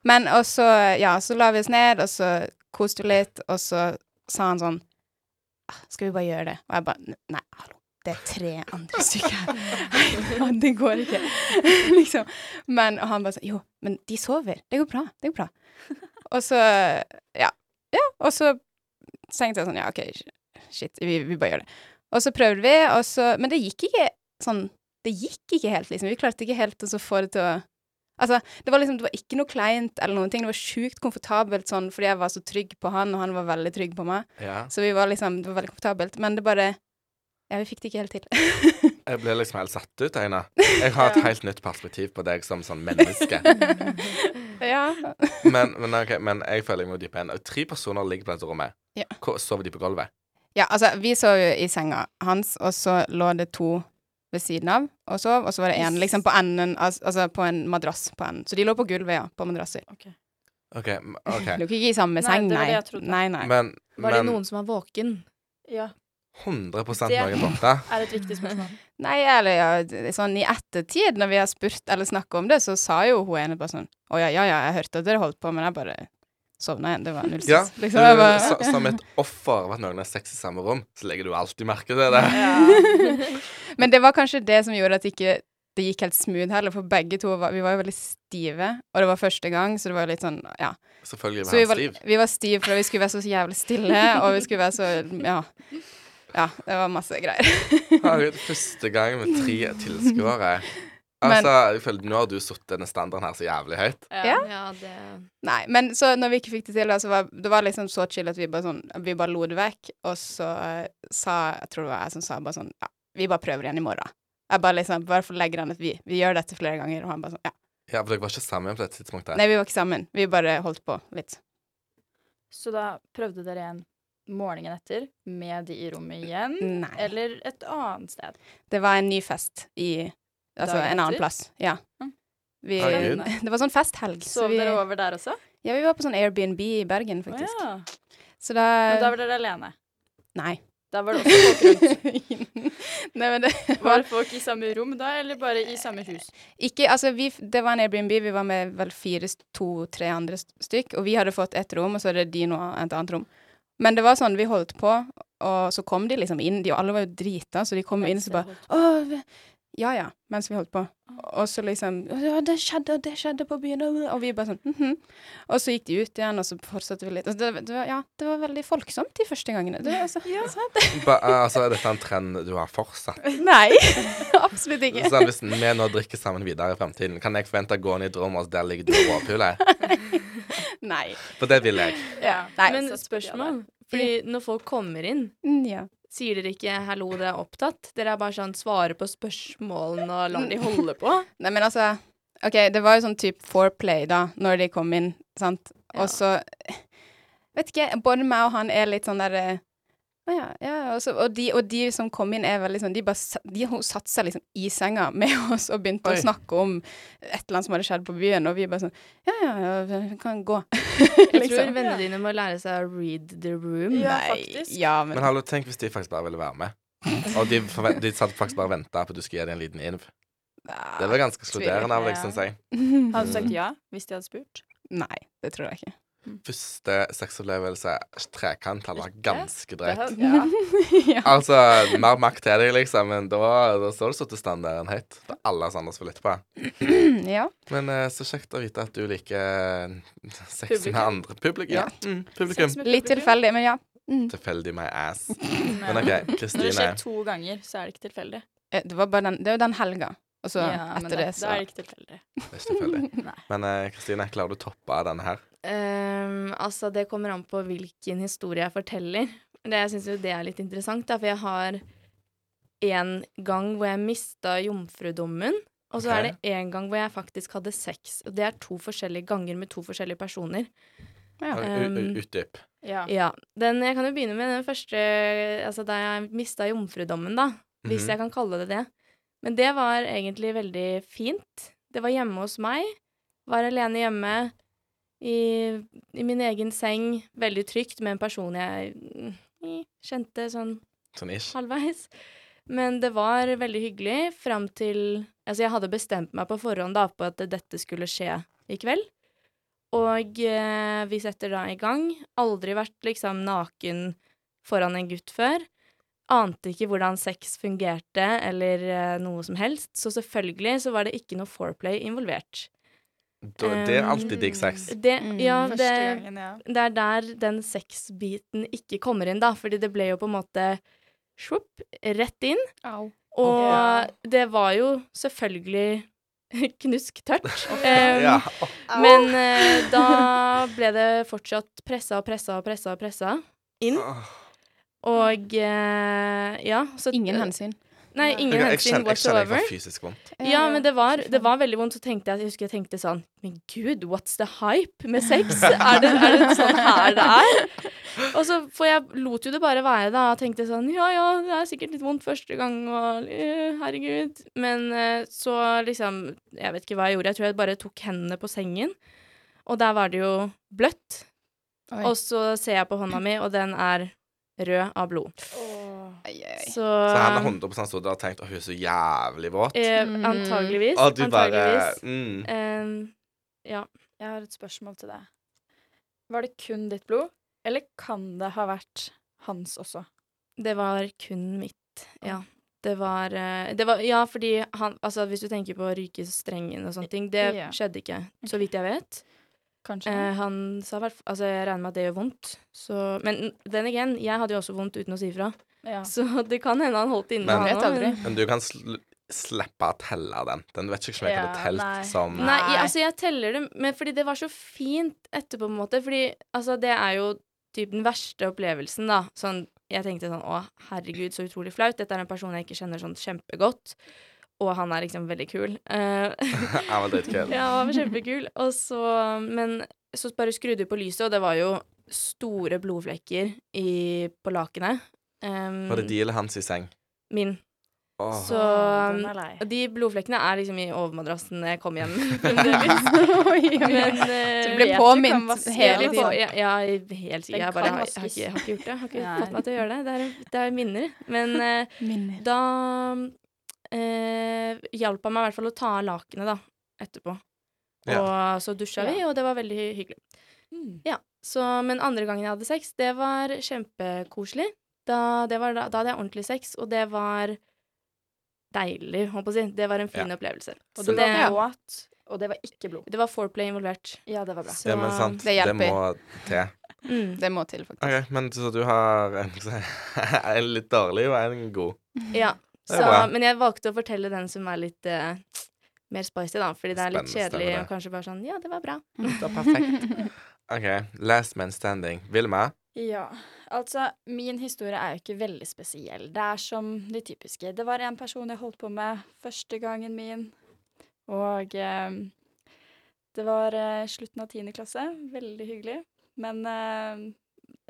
Speaker 4: Men og så, ja, så la vi oss ned, og så koste vi litt, og så sa han sånn «Ah, Skal vi bare gjøre det? Og jeg bare Nei, hallo. det er tre andre stykker her. Og det går ikke. liksom. Men og han bare sånn Jo, men de sover. Det går bra. Det går bra. Og så Ja. ja. Og så tenkte jeg sånn Ja, OK, shit. Vi, vi bare gjør det. Og så prøvde vi, og så Men det gikk ikke sånn Det gikk ikke helt, liksom. Vi klarte ikke helt å så få det til å Altså, det var liksom, det var ikke noe kleint eller noen ting. Det var sjukt komfortabelt sånn, fordi jeg var så trygg på han, og han var veldig trygg på meg.
Speaker 1: Ja.
Speaker 4: Så vi var liksom, det var veldig komfortabelt. Men det bare Ja, vi fikk det ikke helt til.
Speaker 1: Jeg ble liksom helt satt ut, Aina. Jeg har et
Speaker 2: Ja.
Speaker 1: helt nytt perspektiv på deg som sånn menneske.
Speaker 4: ja.
Speaker 1: Men, men, ok, men jeg føler jeg må dype inn. Tre personer ligger på dette rommet.
Speaker 4: Ja.
Speaker 1: Hvor- Sover de på gulvet?
Speaker 4: ja, altså, vi sov jo i senga hans, og så lå det to ved siden av og sov, og så var det én liksom på enden, al- altså på en madrass på enden. Så de lå på gulvet, ja, på madrasser.
Speaker 1: OK. m- ok.
Speaker 4: De lå ikke i samme
Speaker 2: Nei,
Speaker 4: seng,
Speaker 2: det var
Speaker 4: nei.
Speaker 2: det jeg trodde.
Speaker 4: Nei, nei.
Speaker 1: Men,
Speaker 3: Var det
Speaker 1: men
Speaker 3: noen som var våken?
Speaker 2: Ja,
Speaker 1: 100
Speaker 2: Det-
Speaker 1: noen borte.
Speaker 2: er et viktig spørsmål.
Speaker 4: Nei, eller ja, d- sånn i ettertid, når vi har spurt eller snakka om det, så sa jo hun ene bare sånn Å ja, ja, ja, jeg hørte at dere holdt på, men jeg bare sovna igjen. Det var null stress.
Speaker 1: Ja. Eh,
Speaker 4: liksom, jeg bare,
Speaker 1: Så- Som et offer av at noen har sex i samme rom, så legger du alltid merke til det.
Speaker 4: Men det var kanskje det som gjorde at ikke det gikk helt smooth heller, for begge to var, vi var jo veldig stive, og det var første gang, så det var jo litt sånn, ja.
Speaker 1: Selvfølgelig
Speaker 4: Så vi
Speaker 1: var han
Speaker 4: var,
Speaker 1: stiv.
Speaker 4: vi var stive fordi vi skulle være så jævlig stille, og vi skulle være så, ja. Ja, det var masse greier.
Speaker 1: Herregud, første gang med tre tilskuere.
Speaker 4: Men-
Speaker 1: Altså, jeg føler, Nå har du satt denne standarden her så jævlig høyt.
Speaker 4: Ja.
Speaker 3: Ja, det
Speaker 4: Nei, men så når vi ikke fikk det til, da, så var det var liksom så chill at vi bare sånn, vi bare lo det vekk, og så eh, sa, jeg tror det var jeg som sa bare sånn, ja, vi bare prøver igjen i morgen. Jeg bare liksom, bare forlegger han at vi, vi gjør dette flere ganger, og han bare sånn, ja.
Speaker 1: Ja, for Dere var ikke sammen på dette tidspunktet.
Speaker 4: Nei, vi var ikke sammen, vi bare holdt på litt.
Speaker 2: Så da prøvde dere igjen morgenen etter med de i rommet igjen,
Speaker 4: Nei.
Speaker 2: eller et annet sted.
Speaker 4: Det var en ny fest i Altså
Speaker 2: Dagen
Speaker 4: en annen
Speaker 2: etter?
Speaker 4: plass. Ja.
Speaker 2: Mm.
Speaker 4: Vi,
Speaker 1: Herregud.
Speaker 4: det var sånn festhelg, så
Speaker 2: Sov
Speaker 4: vi,
Speaker 2: dere
Speaker 4: ja,
Speaker 2: over der også?
Speaker 4: vi var på sånn Airbnb i Bergen,
Speaker 2: Å
Speaker 4: faktisk. Eh,
Speaker 2: ja.
Speaker 4: Så da,
Speaker 2: Men da var dere alene.
Speaker 4: Nei.
Speaker 2: Da var det også folk rundt.
Speaker 4: Nei, men det
Speaker 2: Var
Speaker 4: var
Speaker 2: det folk i samme rom da, eller bare i samme hus?
Speaker 4: ikke Altså, vi, det var en Airbnb, vi var med vel fire, to-tre andre st- stykk, og vi hadde fått ett rom, og så hadde de noe et annet rom. Men det var sånn, vi holdt på, og så kom de liksom inn, de og alle var jo drita, så de kom inn, så bare Å, vi- ja ja, mens vi holdt på. Og så liksom Ja, det skjedde, og det skjedde på byen, og og vi bare sånn mhm. Og så gikk de ut igjen, og så fortsatte vi litt. Altså, det, det, var, ja, det var veldig folksomt de første gangene. Det, altså, sant?
Speaker 1: Ba, altså, Er dette en trend du har fortsatt?
Speaker 4: Nei, absolutt ikke.
Speaker 1: Sånn, hvis vi nå drikker sammen videre i fremtiden, kan jeg forvente å gå ned i et rom, og der ligger du og råpuler?
Speaker 4: Nei.
Speaker 1: For det vil jeg.
Speaker 2: Ja.
Speaker 4: Nei.
Speaker 3: Men
Speaker 2: så spør de
Speaker 3: spørsmål? Fordi når folk kommer inn,
Speaker 4: Mm, Ja.
Speaker 3: sier dere ikke 'hallo, det er opptatt'? Dere er bare sånn svarer på spørsmålene og lar de holde på?
Speaker 4: Nei, men altså OK, det var jo sånn type foreplay, da, når de kom inn, sant,
Speaker 3: Ja.
Speaker 4: og så Vet ikke, både meg og han er litt sånn derre å ja, ja, og, så, og, de, og de som kom inn, er veldig sånn De bare sa- de, hun satte seg liksom i senga med oss og begynte
Speaker 1: Oi.
Speaker 4: å snakke om et eller annet som hadde skjedd på byen, og vi bare sånn Ja, ja, ja, vi kan gå.
Speaker 3: Jeg tror vennene dine må lære seg å read the room.
Speaker 2: Ja,
Speaker 4: Liksom. Nei,
Speaker 2: faktisk.
Speaker 4: Ja, men,
Speaker 1: Men hallo, tenk hvis de faktisk bare ville være med. Og de, forven- de satt faktisk bare og venta på at du skulle gi dem en liten inv. Det var
Speaker 4: Ah,
Speaker 1: ganske ekskluderende av deg, syns jeg.
Speaker 4: Nei,
Speaker 2: Hadde du sagt ja hvis de hadde spurt?
Speaker 4: det tror jeg ikke.
Speaker 1: Første sexopplevelse, trekant, han var ganske drøyt.
Speaker 2: Det- Ja.
Speaker 4: ja.
Speaker 1: Altså, mer makt til deg, liksom, men da, da står du så til standarden høyt. For alle oss andre som lytter på.
Speaker 4: ja.
Speaker 1: Men eh, så kjekt å vite at du liker eh, sex med
Speaker 2: Publikum.
Speaker 1: andre. Publikum. Ja. Mm, publikum.
Speaker 2: Sex med
Speaker 4: Litt
Speaker 2: publikum?
Speaker 4: tilfeldig, men ja. Mm.
Speaker 1: Tilfeldig my ass.
Speaker 2: Nei.
Speaker 1: Men OK,
Speaker 2: Når det
Speaker 1: Kristine.
Speaker 2: skjer to ganger, så er det ikke tilfeldig.
Speaker 4: Eh, Det var bare den, det var den helga. Og så
Speaker 2: Ja, men
Speaker 4: etter
Speaker 2: da,
Speaker 4: det,
Speaker 2: Da
Speaker 4: så
Speaker 2: er det ikke tilfeldig.
Speaker 1: Det er ikke tilfeldig.
Speaker 2: Nei.
Speaker 1: Men eh, Kristine, klarer du å toppe denne her?
Speaker 3: Ehm, altså, det kommer an på hvilken historie jeg forteller. Det, jeg syns jo det er litt interessant, da, for jeg har én gang hvor jeg mista jomfrudommen. Og så
Speaker 1: Ok.
Speaker 3: er det én gang hvor jeg faktisk hadde sex. Og det er to forskjellige ganger med to forskjellige personer.
Speaker 4: Ja.
Speaker 1: U- u-
Speaker 3: Um,
Speaker 1: Utdyp.
Speaker 2: Ja.
Speaker 3: Ja, den, Jeg kan jo begynne med den første Altså da jeg mista jomfrudommen, da. Hvis
Speaker 1: Mhm.
Speaker 3: jeg kan kalle det det. Men det var egentlig veldig fint. Det var hjemme hos meg. Var alene hjemme. I, i min egen seng. Veldig trygt med en person jeg mm, kjente sånn
Speaker 1: Sånn ish.
Speaker 3: halvveis. Men det var veldig hyggelig fram til Altså, jeg hadde bestemt meg på forhånd da på at dette skulle skje i kveld. Og eh, vi setter da i gang. Aldri vært liksom naken foran en gutt før. ante ikke hvordan sex fungerte eller eh, noe som helst, så selvfølgelig så var det ikke noe foreplay involvert.
Speaker 1: Da, det er alltid digg sex.
Speaker 3: Det,
Speaker 4: Mm.
Speaker 3: ja,
Speaker 2: Første
Speaker 3: det,
Speaker 2: gangen, ja.
Speaker 3: det er der den sexbiten ikke kommer inn, da, fordi det ble jo på en måte svupp, rett inn.
Speaker 4: Au.
Speaker 3: Og
Speaker 2: Ja.
Speaker 3: det var jo selvfølgelig knusktørt. Um,
Speaker 1: Ja.
Speaker 3: Men eh, da ble det fortsatt pressa og pressa og pressa og pressa inn. Og eh, ja, så
Speaker 4: Ingen hensyn.
Speaker 3: Nei,
Speaker 2: Ja.
Speaker 3: ingen
Speaker 1: Jeg, jeg,
Speaker 3: hensyn
Speaker 1: kjenner, jeg kjenner jeg
Speaker 3: whatsoever.
Speaker 1: får fysisk vondt.
Speaker 4: Eh,
Speaker 3: Ja, men det var, det var veldig vondt. Så tenkte jeg, jeg husker jeg tenkte sånn Men gud, what's the hype med sex? Er det, er det sånn her det er? Og så For jeg lot jo det bare være, da. Og tenkte sånn Ja ja, det er sikkert litt vondt første gang, og eh, herregud. Men eh, så liksom Jeg vet ikke hva jeg gjorde. Jeg tror jeg bare tok hendene på sengen, og der var det jo bløtt.
Speaker 4: Oi.
Speaker 3: Og så ser jeg på hånda mi, og den er rød av blod.
Speaker 4: Ai, ai, ai.
Speaker 3: Så,
Speaker 1: Så han har 100 stått der og tenkt at hun er så jævlig våt.
Speaker 3: eh,
Speaker 4: Mm.
Speaker 3: Antageligvis.
Speaker 1: Og du bare
Speaker 3: antageligvis. eh,
Speaker 1: mm.
Speaker 3: Em, ja.
Speaker 2: Jeg har et spørsmål til deg. Var det kun ditt blod, eller kan det ha vært hans også?
Speaker 3: Det var kun mitt, ja. Det var, eh, det var Ja, fordi han Altså, hvis du tenker på å ryke strengen og sånne ting, det
Speaker 2: Ja.
Speaker 3: skjedde ikke, så vidt jeg vet.
Speaker 2: Kanskje?
Speaker 3: Eh, han sa hvert Altså, jeg regner med at det gjør vondt, så Men den igjen, jeg hadde jo også vondt uten å si ifra,
Speaker 2: ja.
Speaker 3: så det kan hende han holdt det inne,
Speaker 1: Men-
Speaker 3: han
Speaker 4: Vet
Speaker 3: også,
Speaker 4: aldri.
Speaker 1: Men du kan sl slippe å telle den. Den vet ikke om jeg
Speaker 2: Ja,
Speaker 1: hadde telt
Speaker 2: nei.
Speaker 1: som
Speaker 3: Nei, jeg- altså jeg teller det, men fordi det var så fint etterpå, på en måte. Fordi altså, det er jo typ den verste opplevelsen, da. Sånn, jeg tenkte sånn å, herregud, så utrolig flaut. Dette er en person jeg ikke kjenner sånn kjempegodt, og han er liksom veldig kul. Eh,
Speaker 1: Jeg var dritkul.
Speaker 3: ja, han var kjempekul. Og så Men så bare skrudde vi på lyset, og det var jo store blodflekker i, på lakenet. Eh,
Speaker 1: Var det de eller hans i seng?
Speaker 3: Min.
Speaker 1: Åh.
Speaker 3: Så
Speaker 2: Åh, den er lei.
Speaker 3: de blodflekkene er liksom i overmadrassen når jeg kom hjem fremdeles. Men eh,
Speaker 4: Så
Speaker 2: vet
Speaker 4: du ble
Speaker 2: du kan
Speaker 4: påminnet
Speaker 2: vaske
Speaker 4: hele
Speaker 3: jeg
Speaker 2: litt på-
Speaker 4: tiden.
Speaker 3: ja, ja, helt sikkert. Jeg
Speaker 2: liksom? Den kan
Speaker 3: bare har, jeg har,
Speaker 2: vaskes.
Speaker 3: ikke, jeg har ikke gjort det. Jeg har ikke
Speaker 2: Nei.
Speaker 3: fått meg til å gjøre det. Det er, det er minner. Men eh,
Speaker 4: Minner.
Speaker 3: da eh, hjalp han meg i hvert fall å ta av lakenet, da, etterpå. Og så dusja vi, og det var veldig hy- hyggelig.
Speaker 2: Mm.
Speaker 3: Så, men andre gangen jeg hadde sex, det var kjempekoselig. Da, det var, da, da hadde jeg ordentlig sex, og det var deilig, holdt på å si. Det var en fin opplevelse.
Speaker 2: Og
Speaker 3: Så
Speaker 2: du
Speaker 3: det,
Speaker 2: var våt, og det var ikke blod.
Speaker 3: det var foreplay involvert.
Speaker 2: Ja, det var bra.
Speaker 3: Så,
Speaker 1: Ja, men sant.
Speaker 4: Det hjelper.
Speaker 1: må til.
Speaker 3: Mm.
Speaker 4: Det må til, faktisk.
Speaker 1: OK, men så du har en, en litt dårlig og en god.
Speaker 3: Ja.
Speaker 1: Det
Speaker 3: Så,
Speaker 1: er bra.
Speaker 3: men jeg valgte å fortelle den som er litt eh, mer spicy, da. Fordi det er litt
Speaker 1: Spennende,
Speaker 3: kjedelig
Speaker 1: stemmer
Speaker 3: og kanskje bare sånn Ja, det var bra.
Speaker 1: Det er perfekt. OK, last man standing. Vilma?
Speaker 2: Ja, altså min historie er jo ikke veldig spesiell. Det er som de typiske. Det var en person jeg holdt på med første gangen min, og eh, det var eh, slutten av tiende klasse. Veldig hyggelig. Men eh,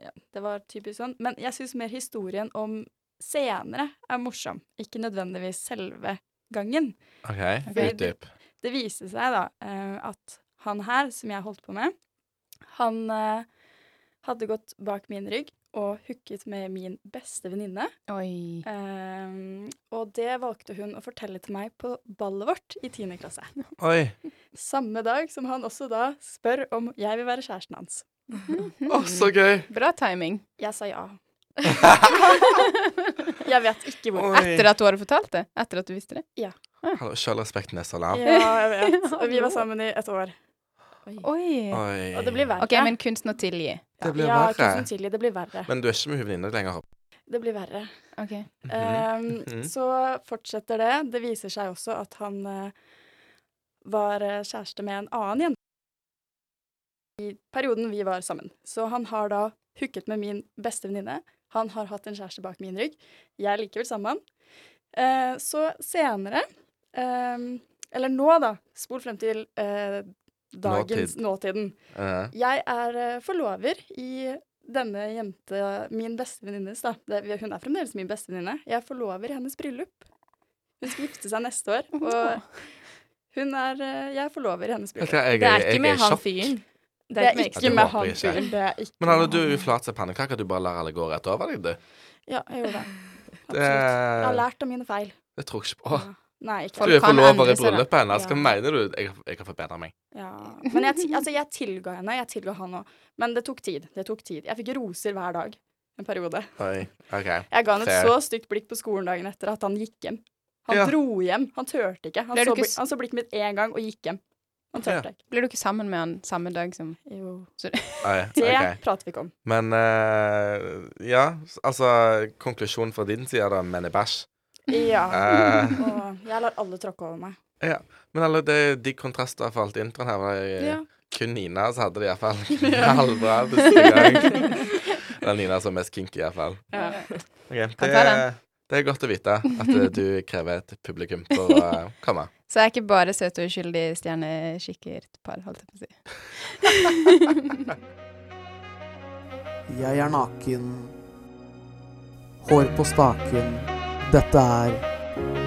Speaker 2: ja, det var typisk sånn. Men jeg syns mer historien om senere er morsom, ikke nødvendigvis selve gangen.
Speaker 1: OK,
Speaker 2: Ok.
Speaker 1: utdyp.
Speaker 2: Det viste seg da eh, at han her, som jeg holdt på med, han eh, hadde gått bak min rygg og hooket med min beste venninne.
Speaker 4: Oi.
Speaker 2: Eh, og det valgte hun å fortelle til meg på ballet vårt i 10. klasse.
Speaker 1: Oi.
Speaker 2: Samme dag som han også da spør om jeg vil være kjæresten hans.
Speaker 1: Å, så gøy!
Speaker 4: Bra timing.
Speaker 2: Jeg sa ja. jeg vet ikke hvor.
Speaker 1: Oi.
Speaker 4: Etter at du hadde fortalt det? Etter at du visste det?
Speaker 1: Hallo, Selvrespekten er så lav.
Speaker 2: Ja, jeg vet. Og vi var sammen i et år.
Speaker 4: Oi.
Speaker 1: Oi.
Speaker 2: Og det blir verre.
Speaker 4: OK, men kunsten å tilgi.
Speaker 1: Det blir
Speaker 2: ja,
Speaker 1: verre.
Speaker 2: tusen tilgi. Det blir verre.
Speaker 1: Men du er ikke med venninne lenger? Håper.
Speaker 2: Det blir verre.
Speaker 4: OK.
Speaker 1: Mhm.
Speaker 2: Ehm,
Speaker 1: Mhm.
Speaker 2: Så fortsetter det. Det viser seg også at han eh, var eh, kjæreste med en annen jente i perioden vi var sammen. Så han har da hooket med min beste venninne. Han har hatt en kjæreste bak min rygg. Jeg er likevel sammen med han. Eh, så senere ehm, Eller nå, da. Spol frem til eh, dagens nåtiden.
Speaker 1: Eh,
Speaker 2: Jeg er eh, forlover i denne jente, min bestevenninnes, da. Det, vi- hun er fremdeles min bestevenninne. Jeg er forlover i hennes bryllup. Hun skal gifte seg neste år, og hun er eh, Jeg er forlover i hennes
Speaker 1: vet
Speaker 2: bryllup.
Speaker 1: du hva, jeg,
Speaker 3: Det er
Speaker 1: jeg
Speaker 3: ikke med
Speaker 1: i
Speaker 3: han
Speaker 1: sjokk.
Speaker 3: fyren.
Speaker 2: Det er ikke med han
Speaker 1: Ja, det håper jeg ikke.
Speaker 2: fyren. Det er ikke
Speaker 1: Men Halle,
Speaker 2: med
Speaker 1: du er
Speaker 2: han.
Speaker 1: jo flat som pannekaker. Du bare lar alle gå rett over deg, du.
Speaker 2: Ja, jeg gjorde det.
Speaker 1: Det,
Speaker 2: Absolutt. Jeg har lært av mine feil.
Speaker 1: det tror jeg ikke på.
Speaker 2: Ja. Nei, ikke
Speaker 1: Du er
Speaker 4: Folk kan
Speaker 1: forlover
Speaker 4: endre
Speaker 1: i
Speaker 4: seg, da.
Speaker 1: bryllupet hennes.
Speaker 2: Ja.
Speaker 1: Hva mener du? Jeg, har- jeg har forbedret meg.
Speaker 2: Ja. Men jeg, ti- altså, jeg tilga henne. Jeg tilga han òg. Men det tok tid. Det tok tid. Jeg fikk roser hver dag. en periode.
Speaker 1: Oi, OK.
Speaker 2: Jeg ga han et
Speaker 1: Fair.
Speaker 2: så stygt blikk på skolen dagen etter at han gikk hjem. Han
Speaker 1: Ja.
Speaker 2: dro hjem. Han turte ikke. Han
Speaker 4: Ble du
Speaker 2: så,
Speaker 4: ikke
Speaker 2: bli,
Speaker 4: s-
Speaker 2: han så blikket mitt én gang og gikk hjem. Han turte ikke.
Speaker 4: Blir du ikke sammen med han samme dag som
Speaker 2: Jo.
Speaker 1: Oi,
Speaker 2: Det
Speaker 1: ok.
Speaker 2: prater vi ikke om.
Speaker 1: Men eh, ja, s- altså Konklusjonen fra din side, da, men er bæsj.
Speaker 2: Ja.
Speaker 1: Eh,
Speaker 2: Og jeg lar alle tråkke over meg.
Speaker 1: men alle, det er digg kontrast da, for alt i introen her. Var, eh,
Speaker 3: Ja.
Speaker 1: Kun Nina så hadde det iallfall knallbra første gang. Eller Nina som er mest kinky, iallfall.
Speaker 2: Ja.
Speaker 1: Okay,
Speaker 4: ta
Speaker 1: det,
Speaker 4: den.
Speaker 1: det er godt å vite at eh, du krever et publikum for å eh, komme.
Speaker 4: Så jeg er ikke bare søt og uskyldig stjernekikkert par, holdt jeg på å si.
Speaker 5: Jeg er naken. Hår på staken. Dette er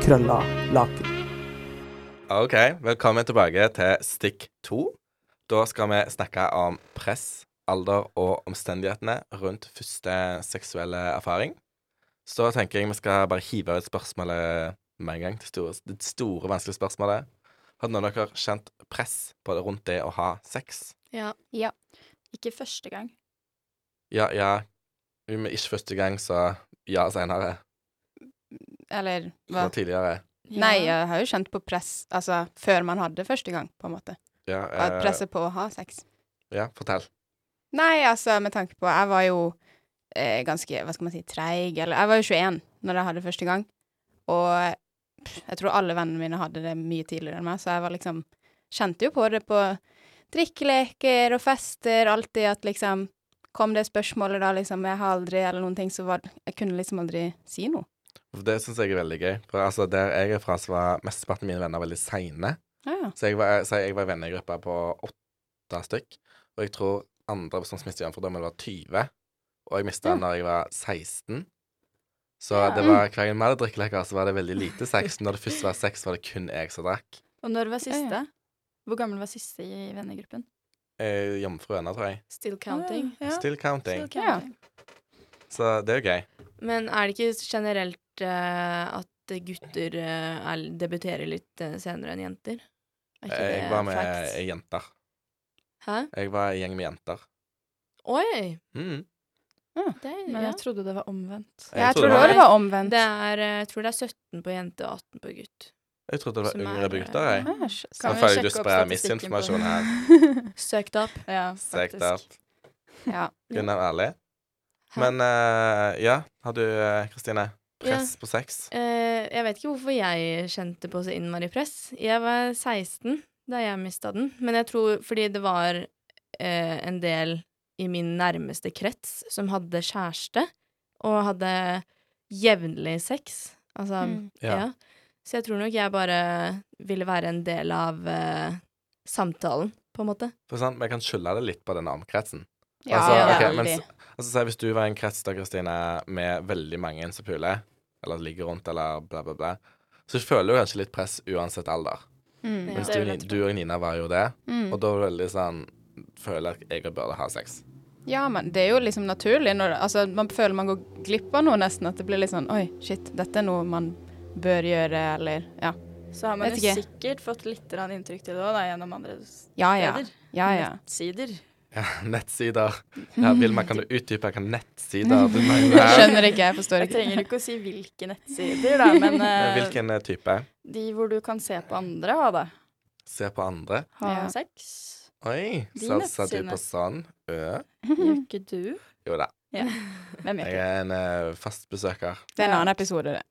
Speaker 5: krølla laken.
Speaker 1: OK, velkommen tilbake til stikk to. Da skal vi snakke om press, alder og omstendighetene rundt første seksuelle erfaring. Så da tenker jeg vi skal bare hive ut spørsmålet med en gang. Det store, det store vanskelige spørsmålet. Har noen av dere kjent press på det rundt det å ha sex?
Speaker 3: Ja.
Speaker 2: Ikke første gang.
Speaker 1: Ja, ja. Men ikke første gang, så ja seinere.
Speaker 4: Eller hva?
Speaker 1: Fra tidligere.
Speaker 4: Nei, jeg har jo kjent på press, altså før man hadde første gang, på en måte.
Speaker 1: Ja,
Speaker 4: At
Speaker 1: eh,
Speaker 4: Presset på å ha sex.
Speaker 1: ja fortell.
Speaker 4: Nei, altså med tanke på Jeg var jo eh, ganske, hva skal man si, treig. Eller jeg var jo 21 når jeg hadde første gang. Og pff, jeg tror alle vennene mine hadde det mye tidligere enn meg, så jeg var liksom Kjente jo på det på drikkeleker og fester, alltid at liksom Kom det spørsmålet da, liksom Jeg har aldri Eller noen ting, så var Jeg kunne liksom aldri si noe.
Speaker 1: For Det syns jeg er veldig gøy. For altså, Der jeg er fra, så var mesteparten av mine venner veldig seine.
Speaker 4: Ja, ja.
Speaker 1: Så jeg var, så jeg var i vennegruppa på åtte stykk. Og jeg tror andre som mistet jomfrudommen, var 20. Og jeg mista den da jeg var 16. Så
Speaker 2: Ja.
Speaker 1: det var hver gang vi hadde drikkeleker, så var det veldig lite sex. Når det først var sex, var det kun jeg som drakk.
Speaker 2: Og når var siste?
Speaker 4: Ja,
Speaker 2: Hvor gammel var siste i vennegruppen?
Speaker 1: Eh, Jomfru ennå, tror jeg.
Speaker 3: Still counting.
Speaker 2: Ja.
Speaker 1: Still counting.
Speaker 2: Still counting.
Speaker 1: Så det er jo gøy.
Speaker 3: Men er det ikke generelt eh, at gutter eh, er, debuterer litt eh, senere enn jenter? Er ikke
Speaker 1: Eh, Jeg
Speaker 3: det
Speaker 1: var med
Speaker 3: facts?
Speaker 1: ei jenter.
Speaker 3: Hæ?
Speaker 1: Jeg var i gjeng med jenter.
Speaker 3: Oi!
Speaker 1: Mm.
Speaker 3: Det,
Speaker 2: Men
Speaker 3: ja.
Speaker 2: jeg trodde det var omvendt.
Speaker 4: Jeg
Speaker 1: trodde
Speaker 4: tror
Speaker 1: det
Speaker 4: også
Speaker 1: var,
Speaker 4: det var omvendt.
Speaker 3: det er, eh, jeg tror det er 17 på jente og 18 på gutt.
Speaker 1: jeg trodde det var
Speaker 3: som
Speaker 1: yngre
Speaker 3: er- eh,
Speaker 1: gutter, jeg.
Speaker 4: Æsj,
Speaker 1: Nå
Speaker 2: Kan vi
Speaker 1: føler jeg
Speaker 2: sjekke
Speaker 1: du
Speaker 2: opp
Speaker 1: sprer
Speaker 2: statistikken på-
Speaker 1: misinformasjon her.
Speaker 3: Søkt opp.
Speaker 2: Ja,
Speaker 1: Strekt
Speaker 2: faktisk.
Speaker 1: opp.
Speaker 4: Ja.
Speaker 1: Gunnar er ærlig.
Speaker 3: Hæ?
Speaker 1: Men eh, ja, har du, eh, Kristine, press på sex?
Speaker 3: Eh, jeg vet ikke hvorfor jeg kjente på så innmari press. Jeg var 16 da jeg mista den, men jeg tror fordi det var eh, en del i min nærmeste krets som hadde kjæreste og hadde jevnlig sex. Altså
Speaker 4: Mm.
Speaker 1: Ja.
Speaker 3: ja. Så jeg tror nok jeg bare ville være en del av eh, samtalen, på en måte.
Speaker 1: For sant, Vi kan skylde det litt på denne omkretsen.
Speaker 4: Ja,
Speaker 1: Altså, ok, men
Speaker 4: veldig.
Speaker 1: s- Altså, si Hvis du var i en krets da, Kristine, med veldig mange som puler, eller ligger rundt, eller bla, bla, bla, så føler du kanskje litt press uansett alder.
Speaker 4: Mm.
Speaker 3: Ja.
Speaker 1: Mens
Speaker 3: det
Speaker 1: du,
Speaker 3: vil jeg
Speaker 1: Ni-
Speaker 3: tro.
Speaker 1: du og Nina var jo det,
Speaker 4: Mm.
Speaker 1: og da var det veldig sånn Føler jeg at jeg burde ha sex.
Speaker 4: Ja, men det er jo liksom naturlig. Når, altså, man føler man går glipp av noe nesten. At det blir litt sånn Oi, shit, dette er noe man bør gjøre, eller Ja,
Speaker 2: Så har man
Speaker 4: Vet
Speaker 2: jo
Speaker 4: ikke.
Speaker 2: sikkert fått litt grann inntrykk til det òg, gjennom andre steder.
Speaker 4: ja. Ja, ja. ja.
Speaker 2: Nettsider.
Speaker 1: Ja, nettsider. Ja, Vilma, kan du utdype hva nettsider du
Speaker 4: Jeg
Speaker 1: mener?
Speaker 4: skjønner ikke, jeg forstår
Speaker 2: Jeg
Speaker 4: ikke.
Speaker 2: trenger ikke å si hvilke nettsider, da, men eh,
Speaker 1: Hvilken eh, type?
Speaker 2: de hvor du kan se på andre ha det.
Speaker 1: Se på andre.
Speaker 2: Ha
Speaker 4: Ja.
Speaker 2: sex.
Speaker 1: Oi,
Speaker 2: De
Speaker 1: satsa du
Speaker 2: nettsidene.
Speaker 1: på sånn? Ø?
Speaker 2: Gjør ikke du?
Speaker 1: Jo da,
Speaker 2: Hvem
Speaker 1: jeg
Speaker 2: gjør ikke
Speaker 1: er en ø, fast besøker.
Speaker 4: Det er en annen episode, det.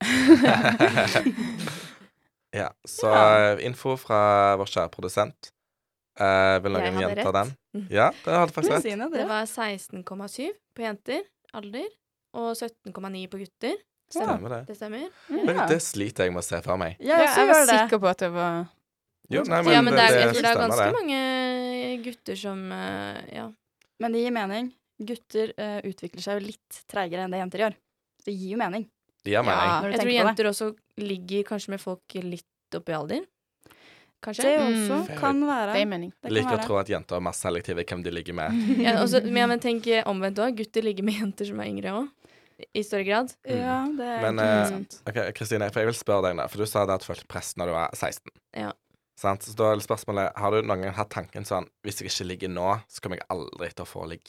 Speaker 1: ja, så ø, info fra vår kjære produsent. Eh, vil
Speaker 3: Jeg
Speaker 1: noen
Speaker 3: hadde
Speaker 1: gjenta den?
Speaker 3: rett. Mm.
Speaker 1: Ja, det hadde
Speaker 2: det?
Speaker 1: faktisk rett.
Speaker 2: Sine,
Speaker 3: Det
Speaker 2: det.
Speaker 3: var 16,7 på jenter, alder, og 17,9 på gutter.
Speaker 1: Stemmer det.
Speaker 3: Det stemmer.
Speaker 1: Men det sliter jeg med å se for meg.
Speaker 2: Ja,
Speaker 4: Ja,
Speaker 2: jeg også
Speaker 4: jeg var
Speaker 2: gjør det.
Speaker 4: sikker på at det var
Speaker 1: Jo, nei,
Speaker 3: ja, men det er, jeg
Speaker 1: det
Speaker 3: tror det er
Speaker 1: stemmer,
Speaker 3: ganske
Speaker 1: det.
Speaker 3: mange gutter som eh, Ja.
Speaker 2: Men det gir mening. Gutter eh, utvikler seg jo litt treigere enn det jenter gjør. Så det gir jo mening.
Speaker 1: Det gir mening.
Speaker 2: Når du
Speaker 3: Jeg tror
Speaker 2: tenker på det.
Speaker 3: jenter også ligger kanskje med folk litt opp i alder.
Speaker 2: Det
Speaker 3: Kanskje.
Speaker 2: også
Speaker 1: Mm.
Speaker 2: kan være.
Speaker 4: Det er mening.
Speaker 2: Det kan
Speaker 1: Liker å
Speaker 2: være.
Speaker 1: tro at jenter er mer selektive i hvem de ligger med.
Speaker 3: Mm. Ja, også, men, ja, men tenk eh, omvendt òg. Gutter ligger med jenter som er yngre òg. I større grad.
Speaker 2: Ja, det er
Speaker 1: Mm.
Speaker 2: sånn.
Speaker 1: Men,
Speaker 2: egentlig
Speaker 1: eh,
Speaker 2: sant.
Speaker 1: Ok, Kristine, for jeg vil spørre deg da, for du sa det at du følte press når du var 16.
Speaker 3: Ja.
Speaker 1: Sant? Så da er spørsmålet, har du noen gang hatt tanken sånn, hvis jeg ikke ligger nå, så kommer jeg aldri til å få ligg?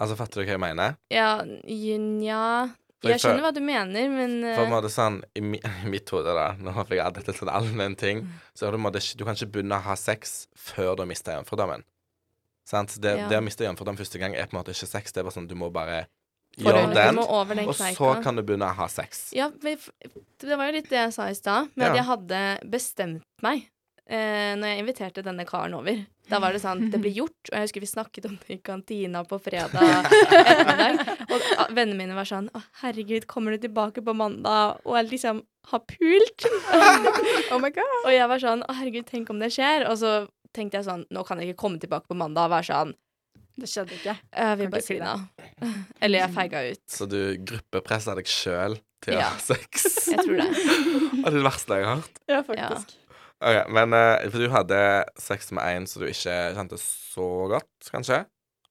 Speaker 1: Altså, fatter du hva jeg mener?
Speaker 3: Ja, nja
Speaker 1: For jeg
Speaker 3: Jeg skjønner hva du mener, men eh,
Speaker 1: For en måte sånn, i, mi, I mitt hode, da Nå håper jeg at dette er sånn allmenn
Speaker 3: Mm.
Speaker 1: ting. Så er det en måte, ikke- du kan ikke begynne å ha sex før du har mista jomfrudommen. Sant? Det,
Speaker 3: Ja.
Speaker 1: det å miste jomfrudommen første gang er på en måte ikke sex. Det er bare sånn, du må bare
Speaker 3: for
Speaker 1: gjøre
Speaker 3: å-
Speaker 1: den,
Speaker 3: du må over den
Speaker 1: og så
Speaker 3: kneika.
Speaker 1: kan du begynne å ha sex.
Speaker 3: Ja, men f- det var jo litt det jeg sa i stad, med
Speaker 1: Ja.
Speaker 3: at jeg hadde bestemt meg eh, når jeg inviterte denne karen over. Da var det sånn, det ble gjort, og jeg husker vi snakket om det i kantina på fredag ettermiddag. Og ah, vennene mine var sånn, å herregud, kommer du tilbake på mandag og jeg liksom har pult?
Speaker 2: Oh my god.
Speaker 3: Og jeg var sånn, å herregud, tenk om det skjer. Og så tenkte jeg sånn, nå kan jeg ikke komme tilbake på mandag og være sånn,
Speaker 2: Det skjedde ikke.
Speaker 3: «Eh,
Speaker 2: Kan
Speaker 3: vi
Speaker 2: ikke
Speaker 3: bare
Speaker 2: si det.
Speaker 3: klina. Eller jeg feiga ut.
Speaker 1: Så du gruppepresser deg sjøl til å
Speaker 3: Ja.
Speaker 1: ha sex.
Speaker 3: Jeg tror det.
Speaker 1: Og det er det verste jeg har hørt.
Speaker 2: Ja,
Speaker 3: faktisk.
Speaker 1: Ok, Men eh, for du hadde sex med en som du ikke kjente så godt, kanskje?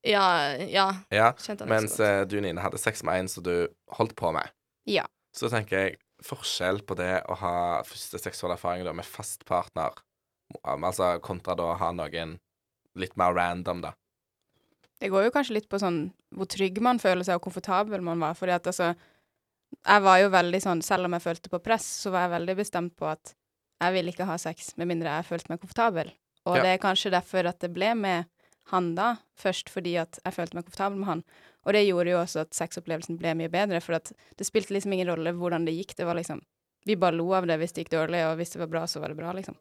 Speaker 3: Ja, ja.
Speaker 1: Ja.
Speaker 3: Kjente han ikke
Speaker 1: Mens
Speaker 3: så godt.
Speaker 1: eh, du, Nine, hadde sex med en som du holdt på med.
Speaker 4: Ja.
Speaker 1: Så tenker jeg forskjell på det å ha første seksuelle erfaring da, med fast partner, um, altså kontra da å ha noen litt mer random, da.
Speaker 4: Det går jo kanskje litt på sånn hvor trygg man føler seg, og komfortabel man var. Fordi at altså Jeg var jo veldig sånn Selv om jeg følte på press, så var jeg veldig bestemt på at jeg ville ikke ha sex med mindre jeg følte meg komfortabel. Og
Speaker 1: Ja.
Speaker 4: det er kanskje derfor at det ble med han da, først fordi at jeg følte meg komfortabel med han. Og det gjorde jo også at sexopplevelsen ble mye bedre, for at det spilte liksom ingen rolle hvordan det gikk. Det var liksom Vi bare lo av det hvis det gikk dårlig, og hvis det var bra, så var det bra, liksom.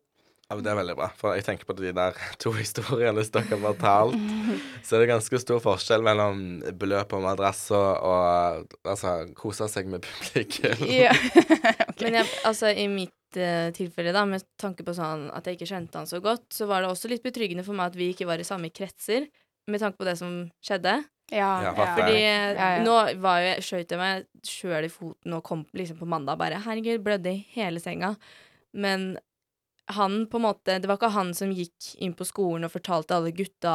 Speaker 1: Ja, men Det er veldig bra, for jeg tenker på de der to historiene som dere har talt. Så er det ganske stor forskjell mellom blø på madrass og, og altså, kose seg med publikum.
Speaker 4: Ja. Ok.
Speaker 3: Men jeg, altså, i mitt eh, tilfelle, da, med tanke på sånn at jeg ikke kjente han så godt, så var det også litt betryggende for meg at vi ikke var i samme kretser, med tanke på det som skjedde.
Speaker 1: Ja,
Speaker 3: Fordi eh,
Speaker 4: Ja, ja.
Speaker 3: nå var jo jeg skjøt jeg meg sjøl i foten og kom liksom på mandag bare Herregud, blødde i hele senga. Men han på en måte Det var ikke han som gikk inn på skolen og fortalte alle gutta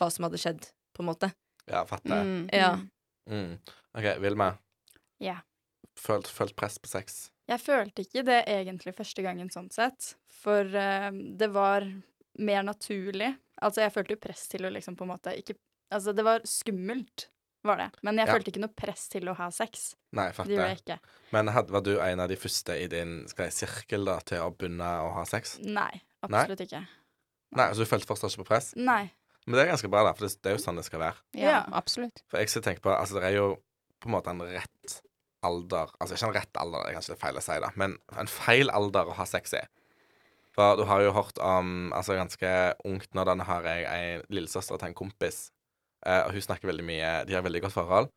Speaker 3: hva som hadde skjedd, på en måte.
Speaker 1: Ja, fatter.
Speaker 4: Mm.
Speaker 3: Ja.
Speaker 1: Mm. OK, Vilma.
Speaker 2: Ja.
Speaker 1: Følt, følt press på sex.
Speaker 2: Jeg følte ikke det egentlig første gangen sånn sett, for eh, det var mer naturlig. Altså, jeg følte jo press til å liksom på en måte ikke Altså, det var skummelt, var det, men jeg
Speaker 1: Ja.
Speaker 2: følte ikke noe press til å ha sex.
Speaker 1: Nei,
Speaker 2: Det gjorde
Speaker 1: fatter.
Speaker 2: jeg ikke.
Speaker 1: Men had, var du en av de første i din skal jeg, sirkel da, til å begynne å ha sex?
Speaker 2: Nei, absolutt ikke.
Speaker 1: Nei, altså du følte fortsatt ikke på press?
Speaker 2: Nei.
Speaker 1: Men det er ganske bra, da, for det, det er jo sånn det skal være.
Speaker 4: ja, absolutt.
Speaker 1: For jeg skal tenke på Altså, det er jo på en måte en rett alder Altså ikke en rett alder, det er kanskje feil å si, da, men en feil alder å ha sex i. For du har jo hørt om Altså, ganske ungt nå, da har jeg ei lillesøster til en kompis, eh, og hun snakker veldig mye De har veldig godt forhold.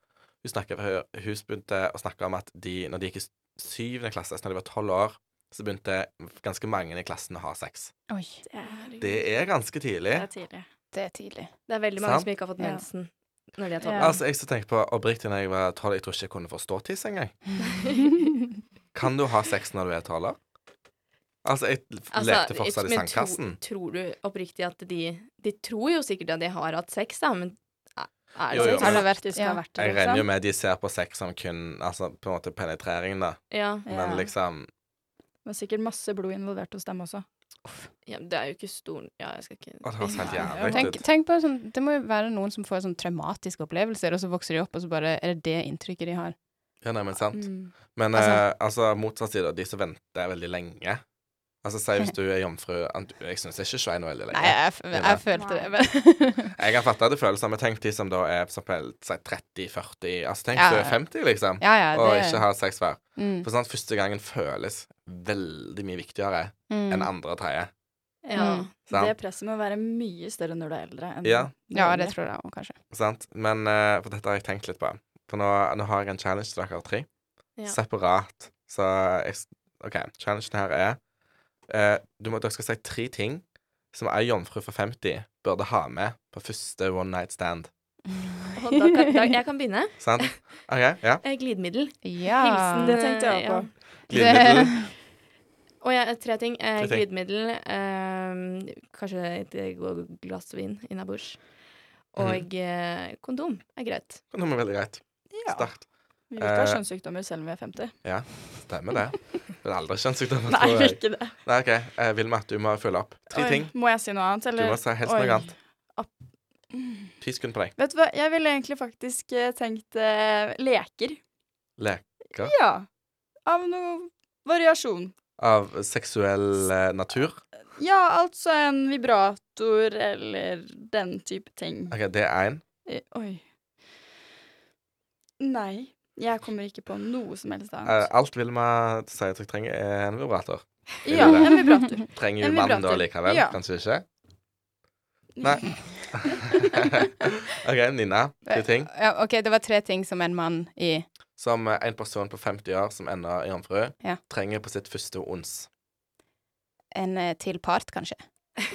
Speaker 1: Hun, snakker, hun, hun begynte å snakke om at de, når de gikk i syvende klasse, så når de var tolv år, så begynte ganske mange i klassen å ha sex.
Speaker 4: Oi,
Speaker 2: Det er,
Speaker 1: Det er ganske tidlig.
Speaker 2: det er tidlig.
Speaker 4: det er tidlig.
Speaker 3: Det er veldig mange
Speaker 1: Sant?
Speaker 3: som ikke har fått
Speaker 2: Ja.
Speaker 3: mensen når de
Speaker 2: Ja.
Speaker 3: er tolv.
Speaker 1: Altså, jeg som tenker på oppriktig når jeg var tolv, jeg tror ikke jeg kunne forstå tiss engang. Kan du ha sex når du er tolv år? Altså, jeg f- lekte fortsatt i
Speaker 3: men tro-
Speaker 1: sandkassen.
Speaker 3: Tror du oppriktig at de De tror jo sikkert at de har hatt sex, da, men er er det
Speaker 1: Jo, jo,
Speaker 3: sex?
Speaker 1: men-
Speaker 4: Har det vært,
Speaker 2: Faktisk
Speaker 4: ja.
Speaker 2: har vært det,
Speaker 1: Jeg regner jo
Speaker 2: liksom.
Speaker 1: med de ser på sex som kun Altså på en måte penetrering, da.
Speaker 3: Ja.
Speaker 1: Men
Speaker 2: Ja.
Speaker 1: liksom
Speaker 2: Det var sikkert masse blod involvert hos dem også.
Speaker 3: ja, men det er jo ikke stor Ja, jeg skal ikke
Speaker 1: Å, det høres helt
Speaker 2: Ja.
Speaker 1: jævlig
Speaker 4: Tenk,
Speaker 1: ut.
Speaker 4: tenk på sånn, Det må jo være noen som får sånn traumatiske opplevelser, og så vokser de opp, og så bare er det det inntrykket de har.
Speaker 1: Ja, nei, men sant.
Speaker 2: Mm.
Speaker 1: Men altså,
Speaker 4: Altså-
Speaker 1: altså motsatt side, de som venter veldig lenge Altså, si hvis du er jomfru an- Jeg syns ikke Svein er veldig
Speaker 4: Nei,
Speaker 1: lenge.
Speaker 4: jeg, f-
Speaker 1: Det er
Speaker 4: jeg følte det, men
Speaker 1: Jeg har fatta det følelser, men tenk de som da er for eksempel si 30-40 Altså, tenk
Speaker 4: Ja.
Speaker 1: du er 50, liksom,
Speaker 4: Ja, ja,
Speaker 1: og
Speaker 4: det
Speaker 1: ikke har sex hver.
Speaker 4: mm,
Speaker 1: For sånn, at første gangen føles veldig mye viktigere enn
Speaker 4: mm.
Speaker 1: andre og tredje.
Speaker 3: Ja.
Speaker 4: Mm.
Speaker 2: Det
Speaker 1: Sant?
Speaker 2: presset må være mye større når du er eldre. Enn
Speaker 1: Ja.
Speaker 4: Ja, det tror jeg òg, kanskje.
Speaker 1: Sant? Men eh, for dette har jeg tenkt litt på. For nå, nå har jeg en challenge til dere tre.
Speaker 3: Ja.
Speaker 1: Separat. Så jeg, s- OK, challengen her er eh, du må, Dere skal si tre ting som ei jomfru for 50 burde ha med på første one night stand.
Speaker 3: Og da kan, da, jeg kan begynne.
Speaker 1: Sant? OK? Ja.
Speaker 3: Eh, Glidemiddel.
Speaker 4: Ja.
Speaker 3: Hilsen.
Speaker 2: Det tenkte jeg
Speaker 3: eh,
Speaker 2: også på.
Speaker 1: Glidemiddel.
Speaker 3: Og ja, tre ting. Eh,
Speaker 1: Tre ting.
Speaker 3: Glidemiddel. Eh, kanskje et godt glass vin innabords.
Speaker 1: Mhm.
Speaker 3: Og eh, kondom er greit.
Speaker 1: Nå er veldig greit.
Speaker 2: Ja.
Speaker 1: Sterkt.
Speaker 2: Vi vil ikke ha
Speaker 1: Eh,
Speaker 2: kjønnssykdommer selv om vi er 50.
Speaker 1: Stemmer det. Det er aldri kjønnssykdommer,
Speaker 2: Nei,
Speaker 1: tror jeg.
Speaker 2: ikke det.
Speaker 1: Nei, OK. Eh, Vilma, du må følge opp. Tre
Speaker 2: Oi,
Speaker 1: ting.
Speaker 2: Må jeg si noe annet,
Speaker 1: Du
Speaker 2: eller?
Speaker 1: må si helst
Speaker 2: Oi.
Speaker 1: noe annet. Ti sekunder på deg.
Speaker 2: Vet du hva, jeg ville egentlig faktisk eh, tenkt eh, leker.
Speaker 1: Lek
Speaker 2: Ja. Av noe variasjon.
Speaker 1: av seksuell eh, natur.
Speaker 2: Ja, altså en vibrator eller den type ting.
Speaker 1: OK, det er én.
Speaker 2: Eh, Oi. Nei. Jeg kommer ikke på noe som helst
Speaker 1: Eh,
Speaker 2: annet.
Speaker 1: alt Vilma sier at jeg trenger, er en vibrator. Eh, er
Speaker 2: Ja,
Speaker 1: det.
Speaker 2: en vibrator.
Speaker 1: Trenger
Speaker 2: En
Speaker 1: jo mann da
Speaker 2: vibrator.
Speaker 1: likevel?
Speaker 2: Ja.
Speaker 1: Kanskje ikke? Nei. OK, Nina. Tre ting.
Speaker 4: Ja, OK, det var tre ting som en mann i
Speaker 1: Som eh, en person på 50 år som ennå er jomfru,
Speaker 4: Ja.
Speaker 1: trenger på sitt første ons.
Speaker 4: en eh, til part, kanskje.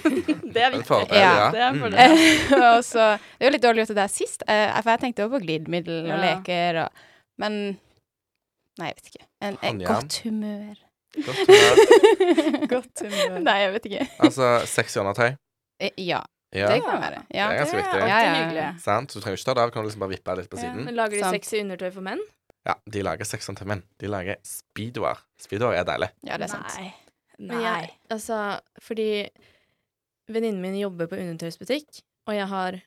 Speaker 2: Det er
Speaker 1: En
Speaker 2: viktig.
Speaker 1: fordel, ja.
Speaker 2: Det er en
Speaker 1: Mm.
Speaker 2: fordel.
Speaker 4: og så Det er jo litt dårlig gjort at det er sist, eh, for jeg tenkte jo på glidemiddel
Speaker 2: Ja.
Speaker 4: og leker og Men Nei, jeg vet ikke. En, en
Speaker 1: Håndjern.
Speaker 4: godt humør.
Speaker 1: Godt humør.
Speaker 4: godt humør. Nei, jeg vet ikke.
Speaker 1: Altså sexy undertøy.
Speaker 4: Eh, Ja,
Speaker 1: Ja,
Speaker 4: det kan være. Ja.
Speaker 1: det er ganske viktig.
Speaker 2: alltid
Speaker 4: Ja, ja, ja.
Speaker 2: hyggelig.
Speaker 1: Sant? Så du trenger ikke ta det av, kan du liksom bare vippe det litt på siden.
Speaker 3: Men Lager de
Speaker 4: Sant.
Speaker 3: sexy undertøy for menn?
Speaker 1: Ja, de lager sexen til menn. De lager speedoer. Speedoer er deilig.
Speaker 4: ja, det er sant.
Speaker 3: Nei. Men jeg, altså, fordi venninnen min jobber på undertøysbutikk, og jeg har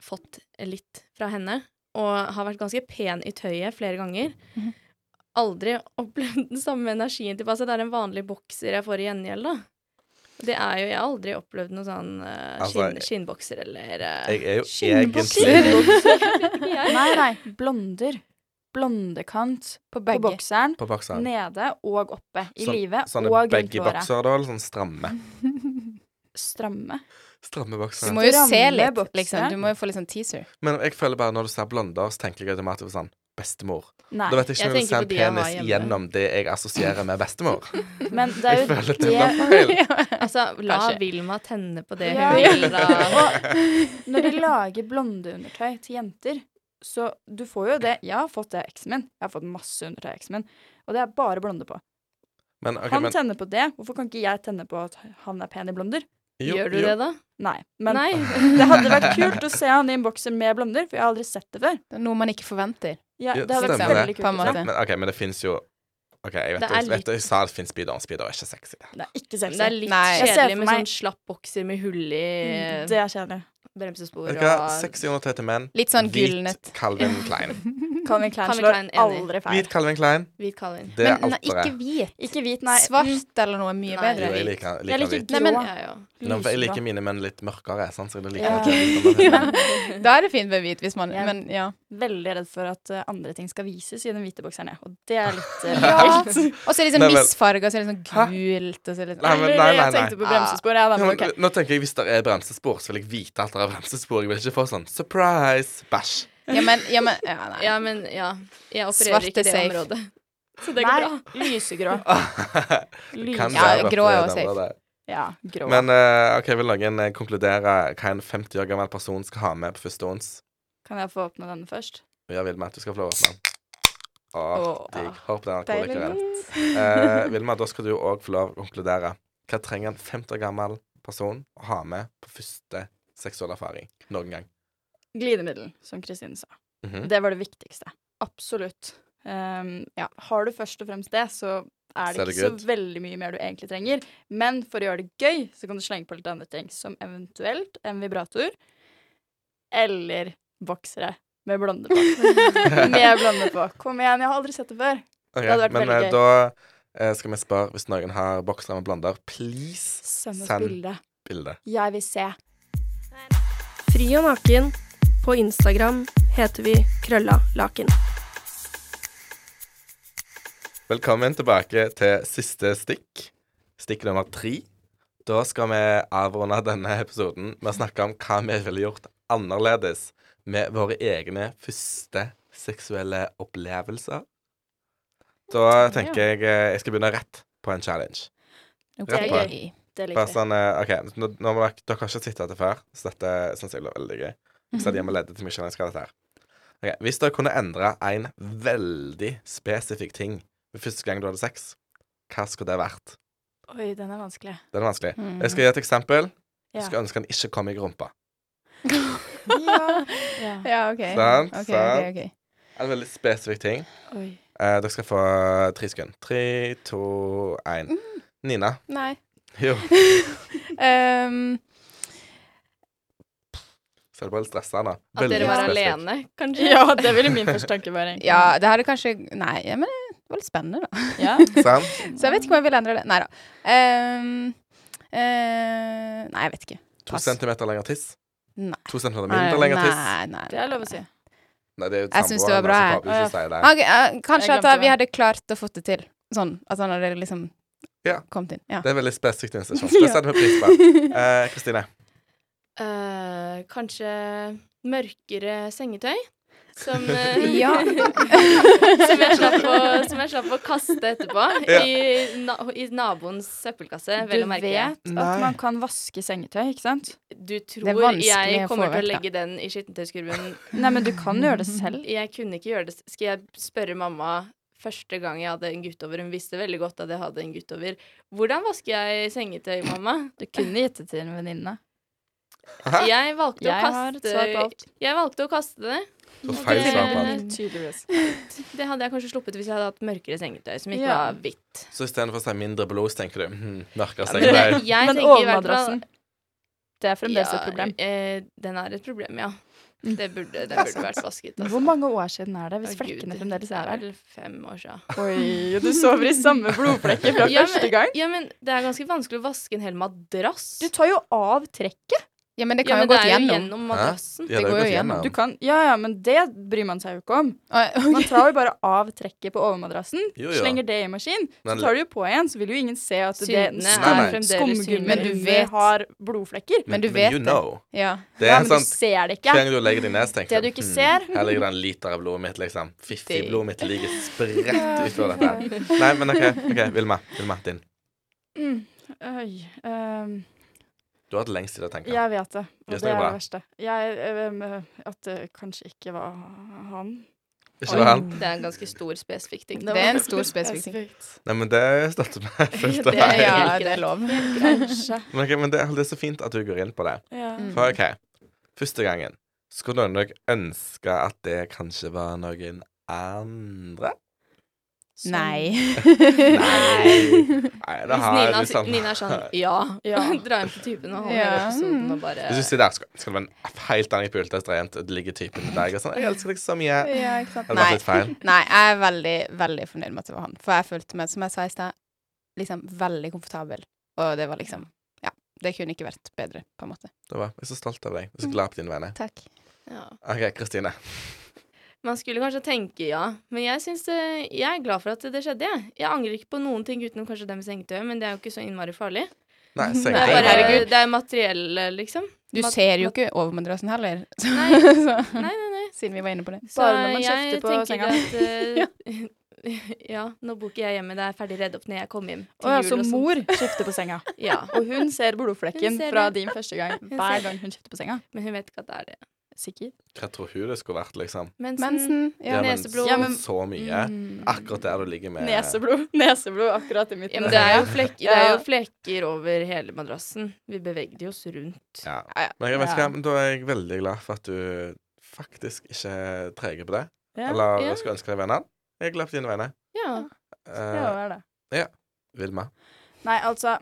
Speaker 3: fått litt fra henne, og har vært ganske pen i tøyet flere ganger.
Speaker 4: Mhm.
Speaker 3: Aldri opplevd den samme energien tilbake. Altså, det er en vanlig bokser jeg får i gjengjeld, da. Det er jo, Jeg har aldri opplevd noen sånn eh,
Speaker 1: Altså,
Speaker 3: skinn, skinnbokser eller eh,
Speaker 1: Jeg er jo
Speaker 3: Skinnbokser.
Speaker 1: egentlig
Speaker 2: Nei, nei. Blonder. Blondekant på,
Speaker 4: begge.
Speaker 2: bokseren.
Speaker 1: på bokseren.
Speaker 2: Nede og oppe. I
Speaker 1: Sånn-
Speaker 2: livet
Speaker 1: sånne
Speaker 2: og rundt
Speaker 1: baggy
Speaker 2: låret.
Speaker 1: bokser, da? Eller sånn stramme?
Speaker 2: Stramme.
Speaker 1: Stramme
Speaker 4: Du
Speaker 1: boksere.
Speaker 4: må jo se
Speaker 2: Stramme
Speaker 4: litt,
Speaker 2: bokser.
Speaker 4: liksom. Du må jo få litt sånn teaser.
Speaker 1: Men jeg føler bare når du ser blonder, så tenker jeg automatisk på sånn bestemor.
Speaker 2: Nei.
Speaker 1: Da vet jeg ikke
Speaker 3: jeg
Speaker 1: om jeg vil se
Speaker 3: tenker
Speaker 1: en
Speaker 3: på de jeg har
Speaker 1: penis
Speaker 3: hjemme.
Speaker 1: gjennom det jeg assosierer med bestemor.
Speaker 2: Men det er
Speaker 1: Jeg
Speaker 2: jo
Speaker 1: føler det
Speaker 2: det
Speaker 1: blir feil.
Speaker 3: Altså, la
Speaker 4: Kanskje.
Speaker 3: Vilma tenne på det
Speaker 2: Ja.
Speaker 3: hun vil, da.
Speaker 2: Og når de lager blondeundertøy til jenter, så du får jo det Jeg har fått det av eksen min. Jeg har fått masse undertøy av eksen min, og det er bare blonde på.
Speaker 1: Men, ok,
Speaker 2: han
Speaker 1: men,
Speaker 2: tenner på det. Hvorfor kan ikke jeg tenne på at han er pen i blonder?
Speaker 1: jo,
Speaker 3: Gjør du
Speaker 1: jo.
Speaker 3: det, da?
Speaker 2: Nei. Men
Speaker 3: Nei.
Speaker 2: det hadde vært kult å se han i en bokser med blonder, for jeg har aldri sett det før.
Speaker 4: Det er noe man ikke forventer.
Speaker 2: Ja,
Speaker 1: Ja,
Speaker 2: det hadde vært
Speaker 1: stemmer
Speaker 2: veldig
Speaker 4: det,
Speaker 2: kult.
Speaker 4: på en
Speaker 2: å se.
Speaker 4: måte.
Speaker 1: Men, ok, men det fins jo OK, jeg vet
Speaker 3: Det
Speaker 1: jo-
Speaker 3: er
Speaker 1: jeg vet
Speaker 3: litt-
Speaker 1: jo, jeg sa det fins speedoer. Speedoer er ikke sexy.
Speaker 2: Det er ikke
Speaker 3: Men det er
Speaker 2: sexy.
Speaker 3: litt
Speaker 4: Nei.
Speaker 2: Jeg ser
Speaker 3: kjedelig
Speaker 2: for
Speaker 3: med
Speaker 2: meg- Mm,
Speaker 3: sånn slapp bokser med hull i eh,
Speaker 2: Det er kjedelig.
Speaker 3: bremsespor
Speaker 1: Vet
Speaker 3: og
Speaker 1: du hva? Sexy undertøy til menn.
Speaker 4: Litt sånn
Speaker 1: Hvit
Speaker 4: gulnet.
Speaker 1: Calvin Klein.
Speaker 2: Calvin Klein
Speaker 3: Calvin
Speaker 2: slår
Speaker 3: Klein, enig.
Speaker 2: aldri feil.
Speaker 1: Hvit Calvin Klein,
Speaker 3: hvit Calvin.
Speaker 1: det er
Speaker 4: Men nei, ikke
Speaker 1: alteret.
Speaker 4: hvit. mm.
Speaker 2: Ikke hvit, nei. Mm.
Speaker 4: Svart eller noe mye
Speaker 3: Nei.
Speaker 1: Jo,
Speaker 4: bedre.
Speaker 1: jeg liker,
Speaker 2: Jeg
Speaker 1: liker
Speaker 2: liker
Speaker 1: hvit.
Speaker 2: grå.
Speaker 4: Nei, men-
Speaker 3: Ja, ja.
Speaker 1: Nå, for jeg
Speaker 2: Lyseblå.
Speaker 1: liker mine menn litt mørkere, sant? så jeg liker
Speaker 2: Ja.
Speaker 1: at det er litt sånn-
Speaker 4: Da er det fint med hvit hvis man
Speaker 2: Ja.
Speaker 4: Men ja.
Speaker 2: Veldig redd for at eh, andre ting skal vises i den hvite bokseren, jeg. Og det er litt eh,
Speaker 4: Ja. Og så er det sånn
Speaker 1: Nei, men-
Speaker 4: misfarga, så er det sånn
Speaker 1: Hæ?
Speaker 4: gult og så er det
Speaker 1: Nei,
Speaker 4: sånn
Speaker 1: men- nei, nei,
Speaker 2: Jeg tenkte
Speaker 1: nei.
Speaker 2: på bremsespor, jeg, da.
Speaker 1: Ja,
Speaker 2: Men
Speaker 1: men,
Speaker 2: ok.
Speaker 1: Nå tenker jeg Hvis det er bremsespor, så vil jeg vite at det er bremsespor. Jeg vil ikke få sånn surprise, bæsj.
Speaker 4: Ja, men, ja, men ja, nei.
Speaker 3: ja, men ja. Jeg opererer
Speaker 4: Svart
Speaker 3: ikke
Speaker 4: er
Speaker 3: i det
Speaker 4: safe.
Speaker 3: området. Så det går bra.
Speaker 2: lysegrå.
Speaker 1: Kan
Speaker 2: Lys.
Speaker 4: Ja,
Speaker 1: være
Speaker 4: grå er
Speaker 1: på
Speaker 4: jo
Speaker 1: det
Speaker 4: safe.
Speaker 1: området.
Speaker 2: Ja, grå.
Speaker 1: Men eh, ok, vil noen eh, konkludere hva en 50 år gammel person skal ha med på første ons?
Speaker 2: kan jeg få åpne denne først?
Speaker 1: Ja, Vilma, du skal få lov å åpne den. Åh,
Speaker 2: Åh,
Speaker 1: digg. Håper den er
Speaker 4: Deilig.
Speaker 1: alkoholiker. Eh, Vilma, da skal du òg få lov å konkludere. Hva trenger en 50 år gammel person å ha med på første seksuelle erfaring noen gang?
Speaker 2: Glidemiddel, som Kristine sa.
Speaker 1: Mhm.
Speaker 2: Det var det viktigste. Absolutt. Ehm, ja. Har du først og fremst det, så er det
Speaker 1: Så er det
Speaker 2: ikke
Speaker 1: good.
Speaker 2: så veldig mye mer du egentlig trenger. Men for å gjøre det gøy, så kan du slenge på litt andre ting, som eventuelt en vibrator eller boksere med blonde på. med blonde på. Kom igjen, jeg har aldri sett det før.
Speaker 1: Ok,
Speaker 2: hadde vært
Speaker 1: men
Speaker 2: veldig
Speaker 1: eh,
Speaker 2: gøy.
Speaker 1: da eh, skal vi spørre hvis noen har boksere med blander. Please
Speaker 2: Send oss
Speaker 1: Send.
Speaker 2: bilde.
Speaker 1: bilde.
Speaker 2: Jeg vil se.
Speaker 6: Fri og naken. På Instagram heter vi Krølla Laken.
Speaker 1: Velkommen tilbake til siste stikk. Stikk nummer tre. Da skal vi avrunde denne episoden med å snakke om hva vi ville gjort annerledes med våre egne første seksuelle opplevelser. Da tenker jeg eh, jeg skal begynne rett på en challenge.
Speaker 4: Ok.
Speaker 1: Rett på.
Speaker 2: Det liker
Speaker 1: Bare
Speaker 2: jeg.
Speaker 1: sånn, eh, ok, nå, nå må dere, dere har ikke sett dette før, så dette synes jeg blir veldig gøy. Så de må lede til meg selv jeg skal dette her. Ok, hvis dere kunne endre en veldig spesifikk ting ved første gang du hadde sex, hva skulle det vært?
Speaker 2: Oi, den er vanskelig.
Speaker 1: Det er vanskelig.
Speaker 4: Mm.
Speaker 1: Jeg skal gi et eksempel.
Speaker 2: Ja.
Speaker 1: Jeg skal ønske han ikke kom i rumpa.
Speaker 2: Ja. ja.
Speaker 4: Ja, OK.
Speaker 1: Sant,
Speaker 4: Ok, ok,
Speaker 1: sant.
Speaker 4: ok.
Speaker 1: En veldig spesifikk ting.
Speaker 2: Oi.
Speaker 1: Eh, dere skal få tre sekunder. Tre, to, én.
Speaker 4: Mm.
Speaker 1: Nina.
Speaker 4: Nei.
Speaker 1: Jo.
Speaker 4: Ehm,
Speaker 1: Så er det bare litt stressende.
Speaker 3: At dere var
Speaker 1: spesifikt.
Speaker 3: alene, kanskje?
Speaker 2: Ja, det ville min første tanke være. egentlig.
Speaker 4: Ja, det hadde kanskje Nei, ja, men det var litt spennende, da.
Speaker 2: Ja.
Speaker 1: Sant?
Speaker 4: Så jeg vet ikke om jeg vil endre det. Nei da. Ehm, eh, nei, jeg vet ikke.
Speaker 1: To
Speaker 4: Pass.
Speaker 1: centimeter lengre tiss.
Speaker 4: Nei.
Speaker 1: To centimeter
Speaker 4: Nei,
Speaker 1: mindre lengre tiss.
Speaker 4: nei, nei.
Speaker 2: Det er lov å si.
Speaker 1: Nei, det er jo
Speaker 4: Jeg synes
Speaker 1: samboeren,
Speaker 4: det var bra,
Speaker 1: altså,
Speaker 4: jeg.
Speaker 1: pappa, hvis du sier det.
Speaker 4: Ok, eh, kanskje
Speaker 2: Jeg
Speaker 4: at da
Speaker 2: glemte
Speaker 4: vi
Speaker 2: det.
Speaker 4: hadde klart å få det til. Sånn at han hadde liksom
Speaker 1: Ja.
Speaker 4: kommet inn. Ja.
Speaker 1: Det er veldig spesifikt institusjon.
Speaker 4: Ja.
Speaker 1: Det setter vi pris på. Eh, Kristine.
Speaker 3: Eh, kanskje mørkere sengetøy? Som, eh,
Speaker 4: Ja.
Speaker 3: som, jeg slapp å, som jeg slapp å kaste etterpå.
Speaker 1: Ja.
Speaker 3: I, na I naboens søppelkasse,
Speaker 2: Du
Speaker 3: vel å merke.
Speaker 2: vet
Speaker 1: Nei.
Speaker 2: at man kan vaske sengetøy, ikke sant?
Speaker 3: Du
Speaker 4: er
Speaker 3: tror
Speaker 4: vanskelig
Speaker 3: jeg
Speaker 4: å få
Speaker 3: kommer til å
Speaker 4: vekk, da.
Speaker 3: legge den i skittentøyskurven.
Speaker 2: Nei, men du kan gjøre det selv.
Speaker 3: Jeg kunne ikke gjøre det. Skal jeg spørre mamma første gang jeg hadde en guttover? Hun visste veldig godt at jeg hadde en guttover. Hvordan vasker jeg sengetøy, mamma?
Speaker 2: Du kunne gitt det til en venninne.
Speaker 1: Hæ?
Speaker 3: Jeg valgte,
Speaker 2: Jeg
Speaker 3: å
Speaker 2: har et svar på alt.
Speaker 3: kaste, jeg valgte å kaste det.
Speaker 1: Så feil svar på alt.
Speaker 3: alt.
Speaker 2: Tydeligvis.
Speaker 3: Det hadde jeg kanskje sluppet hvis jeg hadde hatt mørkere sengetøy, som ikke
Speaker 2: Ja.
Speaker 3: var hvitt.
Speaker 1: Så istedenfor å si mindre blod, så tenker du hm, mørkere
Speaker 3: Men jeg,
Speaker 1: sengetøy.
Speaker 3: jeg
Speaker 2: Men
Speaker 3: tenker i hvert fall
Speaker 2: overmadrassen, det er fremdeles
Speaker 3: Ja,
Speaker 2: et problem.
Speaker 3: Eh, den er et problem, ja.
Speaker 2: Mm.
Speaker 3: Det burde, den burde vært vasket.
Speaker 2: Hvor mange år siden er det, hvis
Speaker 3: Å, Gud,
Speaker 2: flekkene fremdeles er der?
Speaker 3: Det er vel fem år siden.
Speaker 2: Oi, du sover i samme blodflekker fra
Speaker 3: Ja,
Speaker 2: første
Speaker 3: men-
Speaker 2: gang.
Speaker 3: Ja, men det er ganske vanskelig å vaske en hel madrass.
Speaker 2: Du tar jo av trekket.
Speaker 4: ja, men det
Speaker 3: ja,
Speaker 4: kan
Speaker 3: men
Speaker 4: jo gå
Speaker 3: det er jo
Speaker 4: gjennom.
Speaker 3: gjennom madrassen.
Speaker 1: Ja, det
Speaker 4: går
Speaker 1: går
Speaker 4: jo
Speaker 1: jo
Speaker 4: gjennom.
Speaker 2: Du kan, ja, ja, men det bryr man seg jo ikke om.
Speaker 4: Å,
Speaker 2: Man tar jo bare av trekket på overmadrassen,
Speaker 1: Jo, ja.
Speaker 2: slenger det i maskin, så
Speaker 1: Men-
Speaker 2: tar du jo på igjen, så vil jo ingen se at det
Speaker 3: Syndene
Speaker 1: Nei, nei.
Speaker 3: er fremdeles
Speaker 2: skumgummi
Speaker 4: Men
Speaker 3: synlige.
Speaker 4: du vet-
Speaker 2: har blodflekker.
Speaker 4: Men du vet
Speaker 1: you
Speaker 4: det.
Speaker 1: know.
Speaker 4: Ja.
Speaker 1: Det
Speaker 2: ja,
Speaker 1: er en
Speaker 2: men du
Speaker 1: sånn
Speaker 2: ser det
Speaker 1: Hver
Speaker 2: ikke.
Speaker 1: gang du legger deg ned, så tenker
Speaker 2: Det du ikke
Speaker 1: «Hm,
Speaker 2: ser».
Speaker 1: Her ligger det en liter av blodet mitt, liksom. Fiffi
Speaker 3: Fy.
Speaker 1: blodet mitt ligger spredt utover dette. Nei, men OK. ok, Vilma. Vilma, din.
Speaker 2: Mm. Oi. ehm,
Speaker 1: Du har hatt lengst tid å tenke.
Speaker 2: jeg vet det, og
Speaker 1: Det
Speaker 2: det,
Speaker 1: stemmer
Speaker 2: er
Speaker 1: bra.
Speaker 2: det verste. Jeg, ehm, at det kanskje ikke var han.
Speaker 1: Ikke det han?
Speaker 3: Det er en ganske stor, spesifikk ting.
Speaker 4: Det er en stor spesifikk ting.
Speaker 1: Nei, men det støtter meg fullt og
Speaker 3: Det er
Speaker 1: helt.
Speaker 3: helt
Speaker 4: Ja,
Speaker 3: greit.
Speaker 4: det er lov.
Speaker 2: Kanskje.
Speaker 1: Men, ok, men det, er- det er så fint at du går inn på det.
Speaker 2: Ja.
Speaker 4: Mm.
Speaker 1: For OK, første gangen skulle noen nok ønske at det kanskje var noen andre?
Speaker 2: Sånn.
Speaker 4: Nei.
Speaker 1: Nei. Nei da
Speaker 3: Hvis
Speaker 1: har
Speaker 3: Nina,
Speaker 1: du sånn
Speaker 3: Nina er sånn ja, ja.
Speaker 2: Ja.
Speaker 3: dra inn på typen og holde
Speaker 4: Ja.
Speaker 3: hele episoden og bare
Speaker 1: Hvis du sitter der, skal, skal det være en helt annen pulte etter jente, og det ligger typen til deg og sånn 'Jeg elsker deg så mye.' Det
Speaker 4: Ja, ikke sant.
Speaker 1: hadde
Speaker 4: Nei.
Speaker 1: vært litt feil.
Speaker 4: Nei, jeg er veldig, veldig fornøyd med at det var han. For jeg følte meg, som jeg sa i stad, liksom veldig komfortabel. Og det var liksom Ja. Det kunne ikke vært bedre, på en måte.
Speaker 1: Det var, jeg er så stolt av deg. Jeg er så glad på dine vegne.
Speaker 4: Takk.
Speaker 3: ja.
Speaker 1: OK, Kristine.
Speaker 3: Man skulle kanskje tenke ja, men jeg, synes det, jeg er glad for at det skjedde. Jeg. jeg angrer ikke på noen ting utenom kanskje det med sengetøyet, men det er jo ikke så innmari farlig.
Speaker 1: Nei,
Speaker 3: Det er,
Speaker 1: sengetøy.
Speaker 3: bare,
Speaker 1: Herregud.
Speaker 3: det er materiell, liksom.
Speaker 4: Du
Speaker 3: Mat-
Speaker 4: ser jo ikke over madrassen heller, så,
Speaker 3: Nei.
Speaker 4: så
Speaker 3: Nei, nei, nei.
Speaker 4: Siden vi var inne på det.
Speaker 3: Så
Speaker 2: Bare når man
Speaker 3: jeg
Speaker 2: kjefter på
Speaker 3: tenker
Speaker 2: senga.
Speaker 3: At, eh, ja, nå bor ikke jeg hjemme. Det er ferdig redd opp når jeg kommer hjem
Speaker 2: Og
Speaker 3: til
Speaker 2: altså,
Speaker 3: jul og sånt.
Speaker 2: mor kjefter på senga.
Speaker 3: Ja,
Speaker 2: Og hun ser blodflekken
Speaker 3: Hun ser
Speaker 2: fra
Speaker 3: det.
Speaker 2: din første gang
Speaker 3: ser
Speaker 2: hver
Speaker 3: det.
Speaker 2: gang hun kjefter på senga.
Speaker 3: men hun vet ikke at det er det.
Speaker 2: Sikkert.
Speaker 1: Hva tror hun det skulle vært, liksom?
Speaker 3: Mensen.
Speaker 4: Mensen.
Speaker 1: Ja,
Speaker 4: Ja.
Speaker 1: men
Speaker 3: Neseblod.
Speaker 2: Ja, men- mm.
Speaker 1: så mye. Akkurat der du ligger med
Speaker 2: Neseblod. Neseblod akkurat i midten.
Speaker 3: Ja, men det er, jo flekker, det er
Speaker 2: Ja.
Speaker 3: jo flekker over hele madrassen. Vi bevegde oss rundt.
Speaker 1: Ja.
Speaker 4: Ja, ja.
Speaker 1: Men jeg vet ikke,
Speaker 2: Ja.
Speaker 1: hva, men da er jeg veldig glad for at du faktisk ikke er treger på det.
Speaker 2: Ja.
Speaker 1: Eller
Speaker 3: Ja.
Speaker 1: skulle ønske deg venner. Jeg er glad på dine vegne.
Speaker 3: Ja.
Speaker 1: Eh,
Speaker 2: Ja, det er det.
Speaker 1: Vilma.
Speaker 2: Nei, altså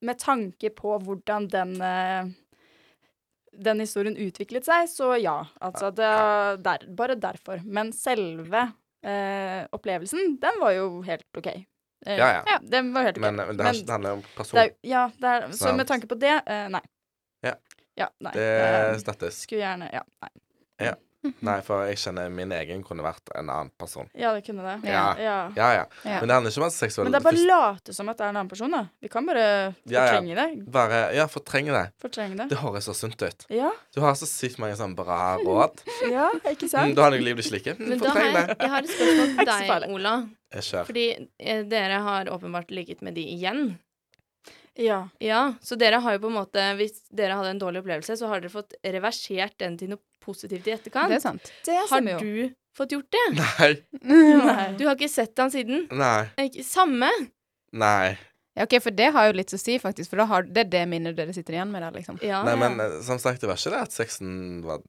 Speaker 2: Med tanke på hvordan den eh, den historien utviklet seg, så ja. Altså, det er der, bare derfor. Men selve eh, opplevelsen, den var jo helt OK. Eh,
Speaker 1: Ja, ja.
Speaker 2: Den var helt OK.
Speaker 1: Men, men det, har, det handler om person.
Speaker 2: det er, ja, det er, så
Speaker 1: Sant.
Speaker 2: med tanke på det, eh, nei.
Speaker 1: Ja.
Speaker 2: ja nei.
Speaker 1: Det støttes.
Speaker 2: Skulle gjerne Ja, nei.
Speaker 1: Nei, for jeg kjenner min egen kunne vært en annen person.
Speaker 2: ja det kunne det.
Speaker 1: Ja.
Speaker 2: ja.
Speaker 1: Ja, ja.
Speaker 4: Ja.
Speaker 1: Men det handler ikke om at seksuell
Speaker 2: Men det er bare å late som at det er en annen person, da. Vi kan bare
Speaker 1: Ja, ja.
Speaker 2: fortrenge det.
Speaker 1: bare Ja, fortrenge det.
Speaker 2: Fortrenge det.
Speaker 1: Det høres så sunt ut.
Speaker 2: Ja,
Speaker 1: Du har så sykt mange sånne bra råd.
Speaker 2: ja, ikke
Speaker 1: Mm,
Speaker 2: sant?
Speaker 1: da har du livet ditt slik. Mm,
Speaker 3: Men da har
Speaker 1: fortreng
Speaker 3: jeg,
Speaker 1: det.
Speaker 3: jeg har et spørsmål til
Speaker 2: Ikke så farlig.
Speaker 3: deg, Ola.
Speaker 1: Jeg kjører.
Speaker 3: Fordi eh, dere har åpenbart ligget med de igjen.
Speaker 2: Ja.
Speaker 3: Ja, så dere har jo på en måte Hvis dere hadde en dårlig opplevelse, så har dere fått reversert den til noe positivt i etterkant.
Speaker 4: Det er sant.
Speaker 2: Det
Speaker 3: har du fått gjort det?
Speaker 1: Nei.
Speaker 2: Nei.
Speaker 3: Du har ikke sett han siden?
Speaker 1: Nei.
Speaker 3: Ikke- Samme.
Speaker 1: Nei.
Speaker 4: Ja, OK, for det har jo litt å si, faktisk. For da har, det er det minnet dere sitter igjen med der, liksom.
Speaker 3: Ah, Ja.
Speaker 1: Nei, men eh, som sagt, det var ikke det at sexen var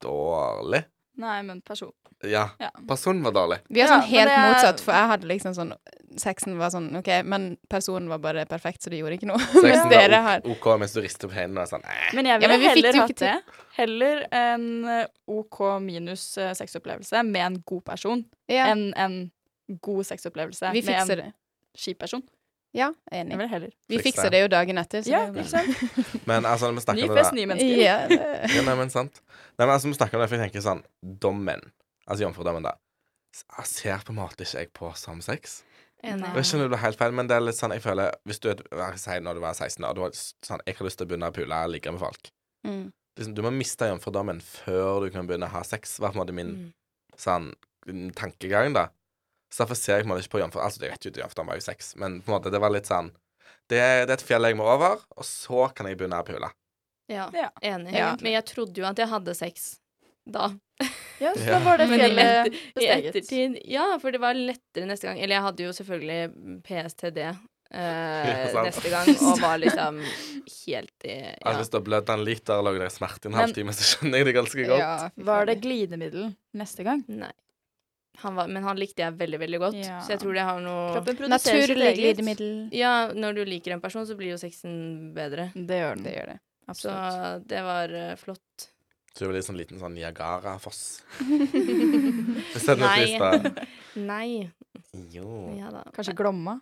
Speaker 1: dårlig.
Speaker 2: Nei, men person.
Speaker 1: Ja.
Speaker 2: Ja.
Speaker 1: Personen var dårlig.
Speaker 4: Vi er
Speaker 2: Ja,
Speaker 4: sånn helt
Speaker 2: men det er-
Speaker 4: motsatt, for jeg hadde liksom sånn sexen var sånn OK, men personen var bare perfekt, så det gjorde ikke noe.
Speaker 1: Sexen
Speaker 4: Mens dere
Speaker 1: var
Speaker 4: har
Speaker 1: ok, OK mens du rister på hendene og sånn eh.
Speaker 2: Men jeg
Speaker 4: Ja,
Speaker 2: ville
Speaker 4: men vi fikk det
Speaker 2: heller
Speaker 4: jo
Speaker 2: hatt det.
Speaker 4: ikke
Speaker 2: Heller en eh, OK minus eh, sexopplevelse med en god person
Speaker 4: Ja,
Speaker 2: enn en god sexopplevelse
Speaker 4: vi
Speaker 2: med
Speaker 4: fikser
Speaker 2: en
Speaker 4: det.
Speaker 2: kjip person.
Speaker 4: Ja,
Speaker 2: Jeg
Speaker 4: enig.
Speaker 2: ville heller.
Speaker 4: Vi
Speaker 1: Fikser.
Speaker 4: fikser det jo dagen etter. så
Speaker 2: Ja,
Speaker 4: det er
Speaker 2: ikke
Speaker 4: jo bra.
Speaker 2: sant?
Speaker 1: Men altså, når vi
Speaker 2: Ny
Speaker 1: snakker om det
Speaker 2: fest,
Speaker 1: der
Speaker 2: nye mennesker.
Speaker 4: Ja, det-
Speaker 1: ja, nei, men sant. Nei, men altså, når vi snakker om det, for jeg tenker sånn Dommen, altså jomfrudommen, da, s- jeg ser på en måte ikke jeg på som sex.
Speaker 3: Enig.
Speaker 1: Jeg skjønner det er helt feil, men det er litt sånn jeg føler Hvis du er hva skal jeg si, når du var 16 og du var s- sånn Jeg har lyst til å begynne å pule og ligge med folk.
Speaker 4: Mm.
Speaker 1: Liksom, du må miste jomfrudommen før du kan begynne å ha sex, var på en måte min
Speaker 3: Mm.
Speaker 1: sånn mm, tankegang, da. Så derfor ser jeg på en måte ikke på jomfru. Altså, jeg vet jo at jomfru var jo sex, men på en måte, det var litt sånn det, det er et fjell jeg må over, og så kan jeg begynne å pule.
Speaker 3: Ja,
Speaker 2: Ja.
Speaker 3: enig.
Speaker 4: Ja.
Speaker 3: Men jeg trodde jo at jeg hadde sex da.
Speaker 2: Ja, så da
Speaker 1: Ja.
Speaker 2: var det
Speaker 3: Men i
Speaker 2: fjellet
Speaker 3: etter- I
Speaker 2: besteget.
Speaker 3: ettertid, ja, for det var lettere neste gang. Eller jeg hadde jo selvfølgelig PSTD eh,
Speaker 1: sant.
Speaker 3: neste gang, og var liksom helt i
Speaker 1: Altså,
Speaker 3: ja.
Speaker 1: hvis du har blødd en liter og laget deg smerte i en
Speaker 2: Men-
Speaker 1: halvtime, så skjønner jeg det ganske godt.
Speaker 4: Ja, fy
Speaker 2: Var det
Speaker 4: fader.
Speaker 2: glidemiddel neste gang?
Speaker 3: Nei. Han var, men han likte jeg veldig, veldig godt,
Speaker 2: Ja.
Speaker 3: så jeg tror det har noe
Speaker 2: Kroppen produserer sitt
Speaker 4: Naturlig
Speaker 2: eget.
Speaker 4: glidemiddel.
Speaker 3: Ja, når du liker en person, så blir jo sexen bedre.
Speaker 2: Det gjør den.
Speaker 4: Det gjør det.
Speaker 3: Så
Speaker 2: Absolutt.
Speaker 3: det var eh, flott.
Speaker 1: Så det blir litt sånn liten sånn Niagara-foss. Hvis det er noe
Speaker 3: Nei.
Speaker 1: pris, da.
Speaker 3: Nei.
Speaker 1: Jo.
Speaker 3: Ja da.
Speaker 2: Kanskje Glomma?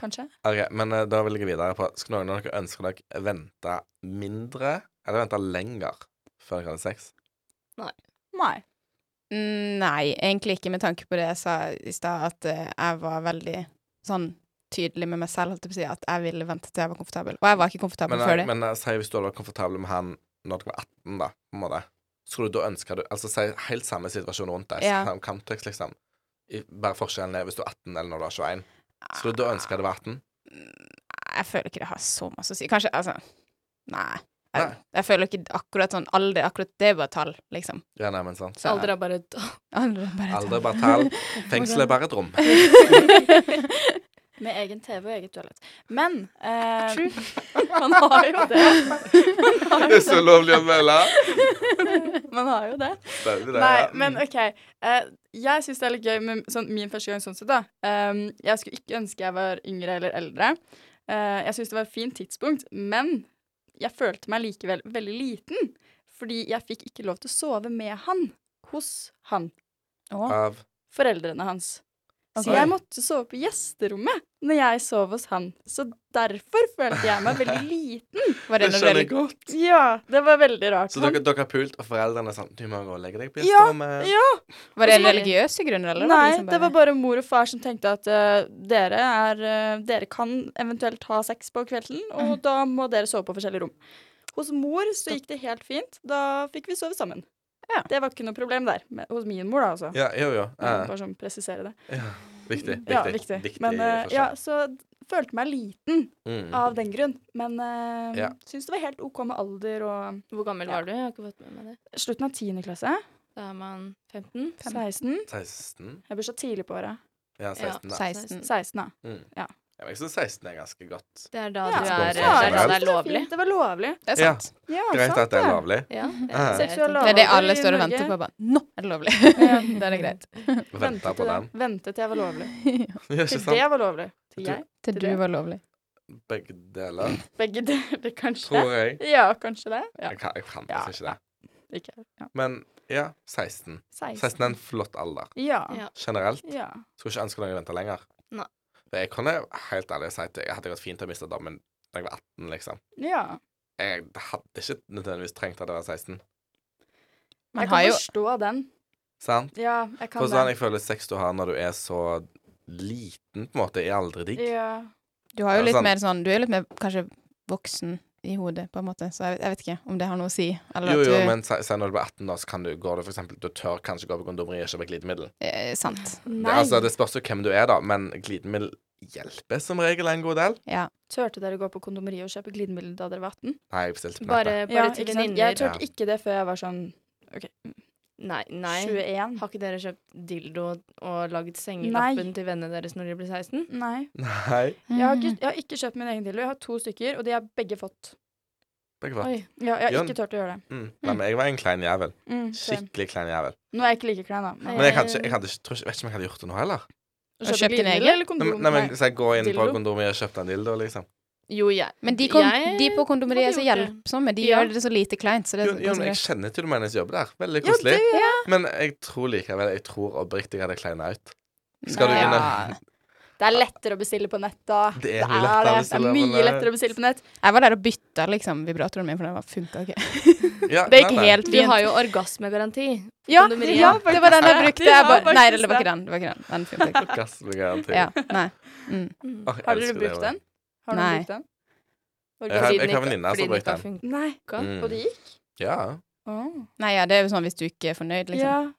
Speaker 2: Kanskje?
Speaker 1: OK, men eh, da vil jeg gå videre på Skal noen av dere ønske dere vente mindre, eller vente lenger, før dere hadde sex?
Speaker 2: Nei.
Speaker 4: Mm, Nei, egentlig ikke med tanke på det jeg sa i stad, at eh, jeg var veldig sånn tydelig med meg selv, holdt jeg på å si, at jeg ville vente til jeg var komfortabel. Og jeg var ikke komfortabel
Speaker 1: Men, eh,
Speaker 4: før det.
Speaker 1: men eh, si hvis du hadde vært komfortabel med han når du var 18, da, på en måte. Skulle du da ønske du Altså si helt samme situasjon rundt deg,
Speaker 4: Ja.
Speaker 1: samme kontekst, liksom. I, bare forskjellen er hvis du er 18 eller når du er 21. Skulle
Speaker 2: Ah.
Speaker 1: du da ønske du var 18?
Speaker 4: Jeg føler ikke det har så masse å si. Kanskje, altså Nei. Jeg,
Speaker 1: Nei.
Speaker 4: jeg føler ikke akkurat sånn alder Akkurat det er bare tall, liksom.
Speaker 1: Ja, nei, men sant.
Speaker 4: Så-
Speaker 3: Alder er bare et
Speaker 4: Alder er bare
Speaker 1: Alder er bare tall. Fengsel er bare et rom.
Speaker 2: Med egen TV og eget toalett. Men eh, man har jo det. Man har jo
Speaker 1: Det er så lovlig å melde!
Speaker 2: det. Man har jo det.
Speaker 1: Stemmer det.
Speaker 2: Nei,
Speaker 1: ja.
Speaker 2: men OK. eh, jeg syns det er litt gøy med sånn, min første gang sånn sett, da. Ehm, jeg skulle ikke ønske jeg var yngre eller eldre. Eh, jeg syns det var et fint tidspunkt, men jeg følte meg likevel veldig liten. Fordi jeg fikk ikke lov til å sove med han hos han.
Speaker 1: Av
Speaker 2: Foreldrene hans.
Speaker 4: Ok.
Speaker 2: Så jeg måtte sove på gjesterommet når jeg sov hos han. Så derfor følte jeg meg veldig liten.
Speaker 4: Var det
Speaker 1: Det
Speaker 4: når
Speaker 1: skjønner
Speaker 4: dere
Speaker 1: jeg godt.
Speaker 2: Ja, det var veldig rart.
Speaker 1: Så dere, dere har pult, og foreldrene er sånn Du må gå og legge deg på
Speaker 2: Ja,
Speaker 1: gjesterommet.
Speaker 2: ja,
Speaker 4: Var det
Speaker 2: Og så var det-
Speaker 4: religiøse grunner, eller?
Speaker 2: Nei,
Speaker 4: liksom
Speaker 2: det var bare mor og far som tenkte at eh, dere, er, eh, dere kan eventuelt ha sex på kvelden, og da må dere sove på forskjellige rom. Hos mor så gikk det helt fint. Da fikk vi sove sammen.
Speaker 4: Ja.
Speaker 2: Det var ikke noe problem der. Men, hos min mor, da, altså.
Speaker 1: Ja, jo, jo.
Speaker 2: Eh,
Speaker 1: Ja.
Speaker 2: Bare sånn presisere det.
Speaker 1: Ja. Viktig. Viktig.
Speaker 2: ja, viktig. Men eh,
Speaker 1: forskjell.
Speaker 2: ja, så d- følte meg liten
Speaker 1: Mm.
Speaker 2: av den grunn. Men uh,
Speaker 1: Ja.
Speaker 2: syns det var helt OK med alder og
Speaker 3: Hvor gammel
Speaker 2: Ja.
Speaker 3: var du? Jeg har ikke fått med meg det.
Speaker 2: Slutten av 10. klasse.
Speaker 3: Da er man 15?
Speaker 2: 16.
Speaker 1: 16?
Speaker 2: Jeg bursdag tidlig på året.
Speaker 1: Mm. Ja, 16. da.
Speaker 3: Mm.
Speaker 4: 16.
Speaker 2: 16, da.
Speaker 1: Ja, men jeg syns 16 er ganske godt.
Speaker 3: Det er da
Speaker 2: Ja.
Speaker 3: du
Speaker 1: Ja,
Speaker 3: er, eh, det er, da
Speaker 2: jeg
Speaker 3: det
Speaker 2: synes
Speaker 3: er lovlig.
Speaker 2: fint. Det var lovlig.
Speaker 4: Det er
Speaker 1: Ja.
Speaker 4: sant.
Speaker 2: Ja,
Speaker 1: Greit
Speaker 2: sant
Speaker 1: at det er
Speaker 2: det.
Speaker 1: lovlig.
Speaker 3: Ja, det
Speaker 1: Ja.
Speaker 3: er det jeg
Speaker 2: Seksuell
Speaker 3: tenker.
Speaker 4: Det er det
Speaker 2: Lover
Speaker 4: alle
Speaker 2: i
Speaker 4: står og
Speaker 2: Norge.
Speaker 4: venter på. Bare nå er det lovlig.
Speaker 2: Ja.
Speaker 4: da er det greit.
Speaker 1: Venta på
Speaker 2: til
Speaker 1: den.
Speaker 2: det- Vente til jeg var lovlig.
Speaker 1: Ja, ikke
Speaker 2: Til det
Speaker 1: sant?
Speaker 2: var lovlig. Til
Speaker 1: Du-
Speaker 2: jeg.
Speaker 4: Til du
Speaker 2: det.
Speaker 4: var lovlig.
Speaker 1: Begge deler,
Speaker 2: Begge deler, kanskje.
Speaker 1: tror jeg.
Speaker 2: Ja, kanskje det. Ja,
Speaker 1: Jeg kan, jeg kan
Speaker 2: Ja.
Speaker 1: faktisk ikke det.
Speaker 2: ikke. Ja.
Speaker 1: Men ja, 16. 16 er en flott alder.
Speaker 2: Ja.
Speaker 3: Ja.
Speaker 1: Generelt
Speaker 2: ja.
Speaker 1: skulle ikke ønske noen venta lenger.
Speaker 3: Nei.
Speaker 1: For jeg kunne helt ærlig si at jeg hadde gått fint til å miste dommen da jeg var 18, liksom.
Speaker 2: ja.
Speaker 1: Jeg hadde ikke nødvendigvis trengt at jeg var 16.
Speaker 4: Man
Speaker 2: jeg
Speaker 4: har
Speaker 2: kan
Speaker 4: jo-
Speaker 2: forstå den.
Speaker 1: Sant?
Speaker 2: Ja, jeg kan
Speaker 1: For sånn,
Speaker 2: det.
Speaker 1: jeg føler sex du har når du er så liten, på en måte, er aldri digg.
Speaker 2: Ja.
Speaker 4: Du har
Speaker 1: Ja,
Speaker 4: jo litt
Speaker 1: sant.
Speaker 4: mer sånn Du er litt mer kanskje voksen i hodet, på en måte, så jeg, jeg vet ikke om det har noe å si. Eller
Speaker 1: Jo,
Speaker 4: at du
Speaker 1: jo, men si si når du blir 18, da, så kan du gå det for eksempel, Du tør kanskje gå på kondomeriet og kjøpe glidemiddel.
Speaker 4: eh, Sant.
Speaker 1: Det, altså, det spørs jo hvem du er, da, men glidemiddel hjelper som regel en god del.
Speaker 4: Ja.
Speaker 2: Turte dere å gå på kondomeriet og kjøpe glidemiddel da dere var 18?
Speaker 1: Nei, jeg bestilte på
Speaker 3: Bare,
Speaker 1: nettet.
Speaker 3: bare
Speaker 2: ikke
Speaker 3: til
Speaker 2: sant? sånn
Speaker 3: venninner.
Speaker 2: Jeg turte ikke det før jeg var sånn
Speaker 3: Nei, nei.
Speaker 2: 21.
Speaker 3: Har ikke dere kjøpt dildo og lagd sengelappen til vennene deres når de blir 16?
Speaker 2: Nei.
Speaker 1: Nei.
Speaker 4: Mhm.
Speaker 2: Jeg har, ikke, jeg har ikke kjøpt min egen dildo. Jeg har to stykker, og de har begge fått.
Speaker 1: Begge var.
Speaker 3: Oi.
Speaker 2: Ja, jeg har
Speaker 1: Jørn.
Speaker 2: ikke turt å gjøre det.
Speaker 1: Mm. Nei, men jeg var en klein jævel.
Speaker 2: Mm, same.
Speaker 1: Skikkelig klein jævel.
Speaker 2: Nå er jeg ikke like klein, da. Men
Speaker 1: Men jeg, kan ikke, jeg hadde ikke, tror ikke, vet ikke om jeg hadde gjort det nå heller.
Speaker 4: Har du kjøpt din
Speaker 2: glidemiddel
Speaker 4: egen?
Speaker 2: eller
Speaker 1: Nei,
Speaker 2: kondom?
Speaker 1: men- nei, men hvis jeg går inn på
Speaker 2: Dildo.
Speaker 1: kondomet og kjøper en dildo, liksom.
Speaker 3: Jo, jeg
Speaker 4: Men de, kom,
Speaker 3: Jeg
Speaker 4: de på kondomeriet er
Speaker 3: hadde
Speaker 4: så
Speaker 3: gjort det.
Speaker 4: hjelpsomme. De
Speaker 3: Ja.
Speaker 4: gjør det så lite kleint. Så det er
Speaker 1: Jo, jo, men
Speaker 4: ganske
Speaker 1: jeg
Speaker 4: greit.
Speaker 1: kjenner til hennes jobb der. Veldig
Speaker 2: Ja,
Speaker 1: koselig.
Speaker 2: det-
Speaker 1: Men jeg tror likevel Jeg tror oppriktig jeg hadde kleina ut. Skal du
Speaker 4: Nei.
Speaker 1: inn
Speaker 2: Ja. Det er lettere å bestille på nett, da.
Speaker 1: Det er mye
Speaker 2: det
Speaker 1: lettere å
Speaker 2: det.
Speaker 1: bestille
Speaker 2: det er
Speaker 1: på
Speaker 2: mye
Speaker 1: nett.
Speaker 2: lettere å bestille på nett.
Speaker 4: Jeg var der og bytta liksom, vibratoren min, for den var- funka ikke.
Speaker 1: Ja,
Speaker 4: Det gikk
Speaker 1: nei, nei.
Speaker 4: helt
Speaker 3: Vi
Speaker 4: fint.
Speaker 3: har jo orgasmegaranti.
Speaker 1: Mm.
Speaker 2: Ja,
Speaker 3: Kondomeriet.
Speaker 2: ja,
Speaker 4: det var den jeg
Speaker 2: faktisk
Speaker 4: brukte.
Speaker 2: det.
Speaker 4: Jeg
Speaker 2: Ja,
Speaker 4: bare, nei,
Speaker 2: faktisk
Speaker 4: det var ikke den. Det var ikke den. Den funka ikke.
Speaker 1: Orgasmegaranti.
Speaker 4: Ja, nei.
Speaker 1: Åh,
Speaker 4: Mm.
Speaker 1: jeg
Speaker 2: Har dere
Speaker 1: elsker det
Speaker 2: brukt
Speaker 1: ordet.
Speaker 2: den? Har dere
Speaker 4: Nei.
Speaker 2: brukt den?
Speaker 1: Jeg har-
Speaker 3: Fordi
Speaker 1: jeg altså,
Speaker 3: den
Speaker 1: har
Speaker 3: ikke-
Speaker 1: venninner
Speaker 3: fordi
Speaker 1: som
Speaker 3: den ikke
Speaker 1: brukte
Speaker 3: har funket.
Speaker 2: Nei.
Speaker 1: Mm.
Speaker 2: Og det gikk?
Speaker 1: Ja.
Speaker 2: Åh.
Speaker 4: Nei, ja, det er jo sånn hvis du ikke er fornøyd, liksom.
Speaker 2: Ja.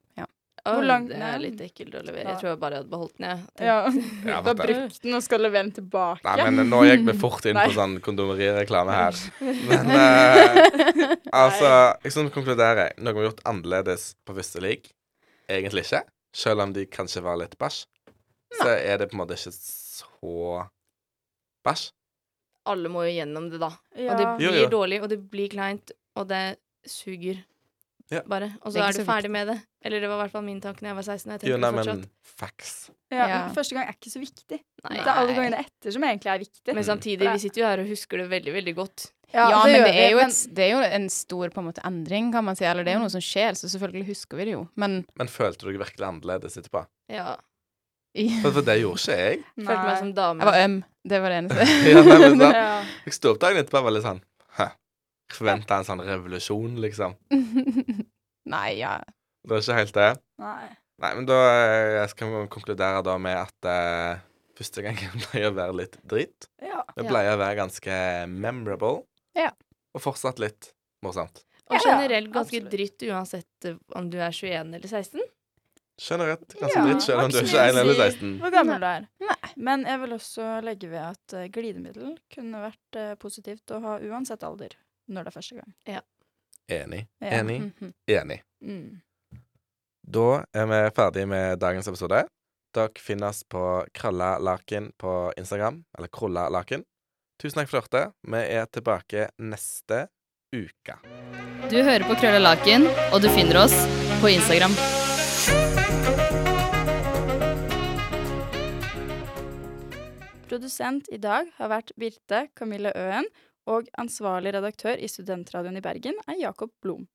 Speaker 3: Åh,
Speaker 2: Hvor lang-
Speaker 3: Det
Speaker 2: Nei.
Speaker 3: er litt ekkelt å levere.
Speaker 2: Ja.
Speaker 3: Jeg tror jeg bare hadde beholdt den, jeg.
Speaker 2: ja.
Speaker 1: Ja,
Speaker 2: Du har
Speaker 1: vet det.
Speaker 2: brukt den og skal levere den tilbake.
Speaker 1: Nei, men nå gikk vi fort inn på
Speaker 2: Nei.
Speaker 1: sånn kondomerireklame her. Men eh, altså, jeg skal konkludere. Noe vi har gjort annerledes på første league? Egentlig ikke. Selv om de kanskje var litt bæsj, så er det på en måte ikke så bæsj.
Speaker 3: Alle må jo gjennom det, da.
Speaker 2: Ja.
Speaker 3: Og det
Speaker 1: Jo,
Speaker 3: blir
Speaker 1: jo.
Speaker 3: dårlig, og det blir kleint, og det suger.
Speaker 1: Ja.
Speaker 3: Bare.
Speaker 4: Det
Speaker 3: Og så
Speaker 4: er
Speaker 3: er,
Speaker 4: ikke
Speaker 3: du
Speaker 4: så
Speaker 3: ferdig med det. Eller det var i hvert fall min tanke da jeg var 16. og Jeg tenker
Speaker 1: Jo, nei,
Speaker 3: det
Speaker 1: men
Speaker 3: fortsatt.
Speaker 1: facts.
Speaker 2: Ja,
Speaker 4: Ja.
Speaker 2: men Første gang er ikke så viktig.
Speaker 3: Nei.
Speaker 2: Det er alle gangene etter som egentlig er viktig.
Speaker 3: Men samtidig, vi sitter jo her og husker det veldig, veldig godt.
Speaker 4: Ja, men
Speaker 2: gjør
Speaker 4: det er,
Speaker 2: vi,
Speaker 4: jo
Speaker 2: men-
Speaker 4: et, det er jo en stor på en måte, endring, kan man si. Eller det er jo noe som skjer, så selvfølgelig husker vi det jo. Men
Speaker 1: Men følte du deg virkelig annerledes etterpå?
Speaker 3: Ja.
Speaker 1: For, for det gjorde ikke jeg.
Speaker 3: Følte meg som dame.
Speaker 4: jeg var øm. Det var det
Speaker 1: Ja, nei, men
Speaker 4: eneste.
Speaker 1: sant?
Speaker 2: Ja.
Speaker 1: Jeg sto opp dagen etterpå og var litt sånn Hæ. Forventa en sånn revolusjon, liksom.
Speaker 4: Nei, ja.
Speaker 1: Det var ikke helt det.
Speaker 2: Nei.
Speaker 1: Nei, men da eh, skal vi konkludere da med at eh, første gangen pleier å være litt dritt.
Speaker 2: Ja.
Speaker 1: Det
Speaker 4: Ja.
Speaker 1: pleier å være ganske memorable.
Speaker 4: Ja.
Speaker 1: Og fortsatt litt morsomt.
Speaker 3: Og
Speaker 2: Ja, ja,
Speaker 3: generelt ganske
Speaker 2: absolutt.
Speaker 3: dritt uansett eh, om du er 21 eller 16.
Speaker 1: Generelt ganske
Speaker 2: Ja,
Speaker 1: dritt, selv om du
Speaker 2: absolutt.
Speaker 1: ikke er 1 eller 16.
Speaker 2: Hvor gammel du er.
Speaker 4: Nei.
Speaker 2: Men jeg vil også legge ved at eh, glidemiddel kunne vært eh, positivt å ha uansett alder når det er første gang.
Speaker 1: Enig,
Speaker 2: Ja.
Speaker 1: enig,
Speaker 4: Mhm.
Speaker 1: enig.
Speaker 2: Mm.
Speaker 1: Da er vi ferdig med dagens episode. Dere finner oss på Kralla Laken på Instagram, eller Krolla Laken. Tusen takk for dette. Vi er tilbake neste uke.
Speaker 7: Du hører på Krølla Laken, og du finner oss på Instagram.
Speaker 2: Produsent i dag har vært Birte Camille Øen, og ansvarlig redaktør i Studentradioen i Bergen er Jakob Blom.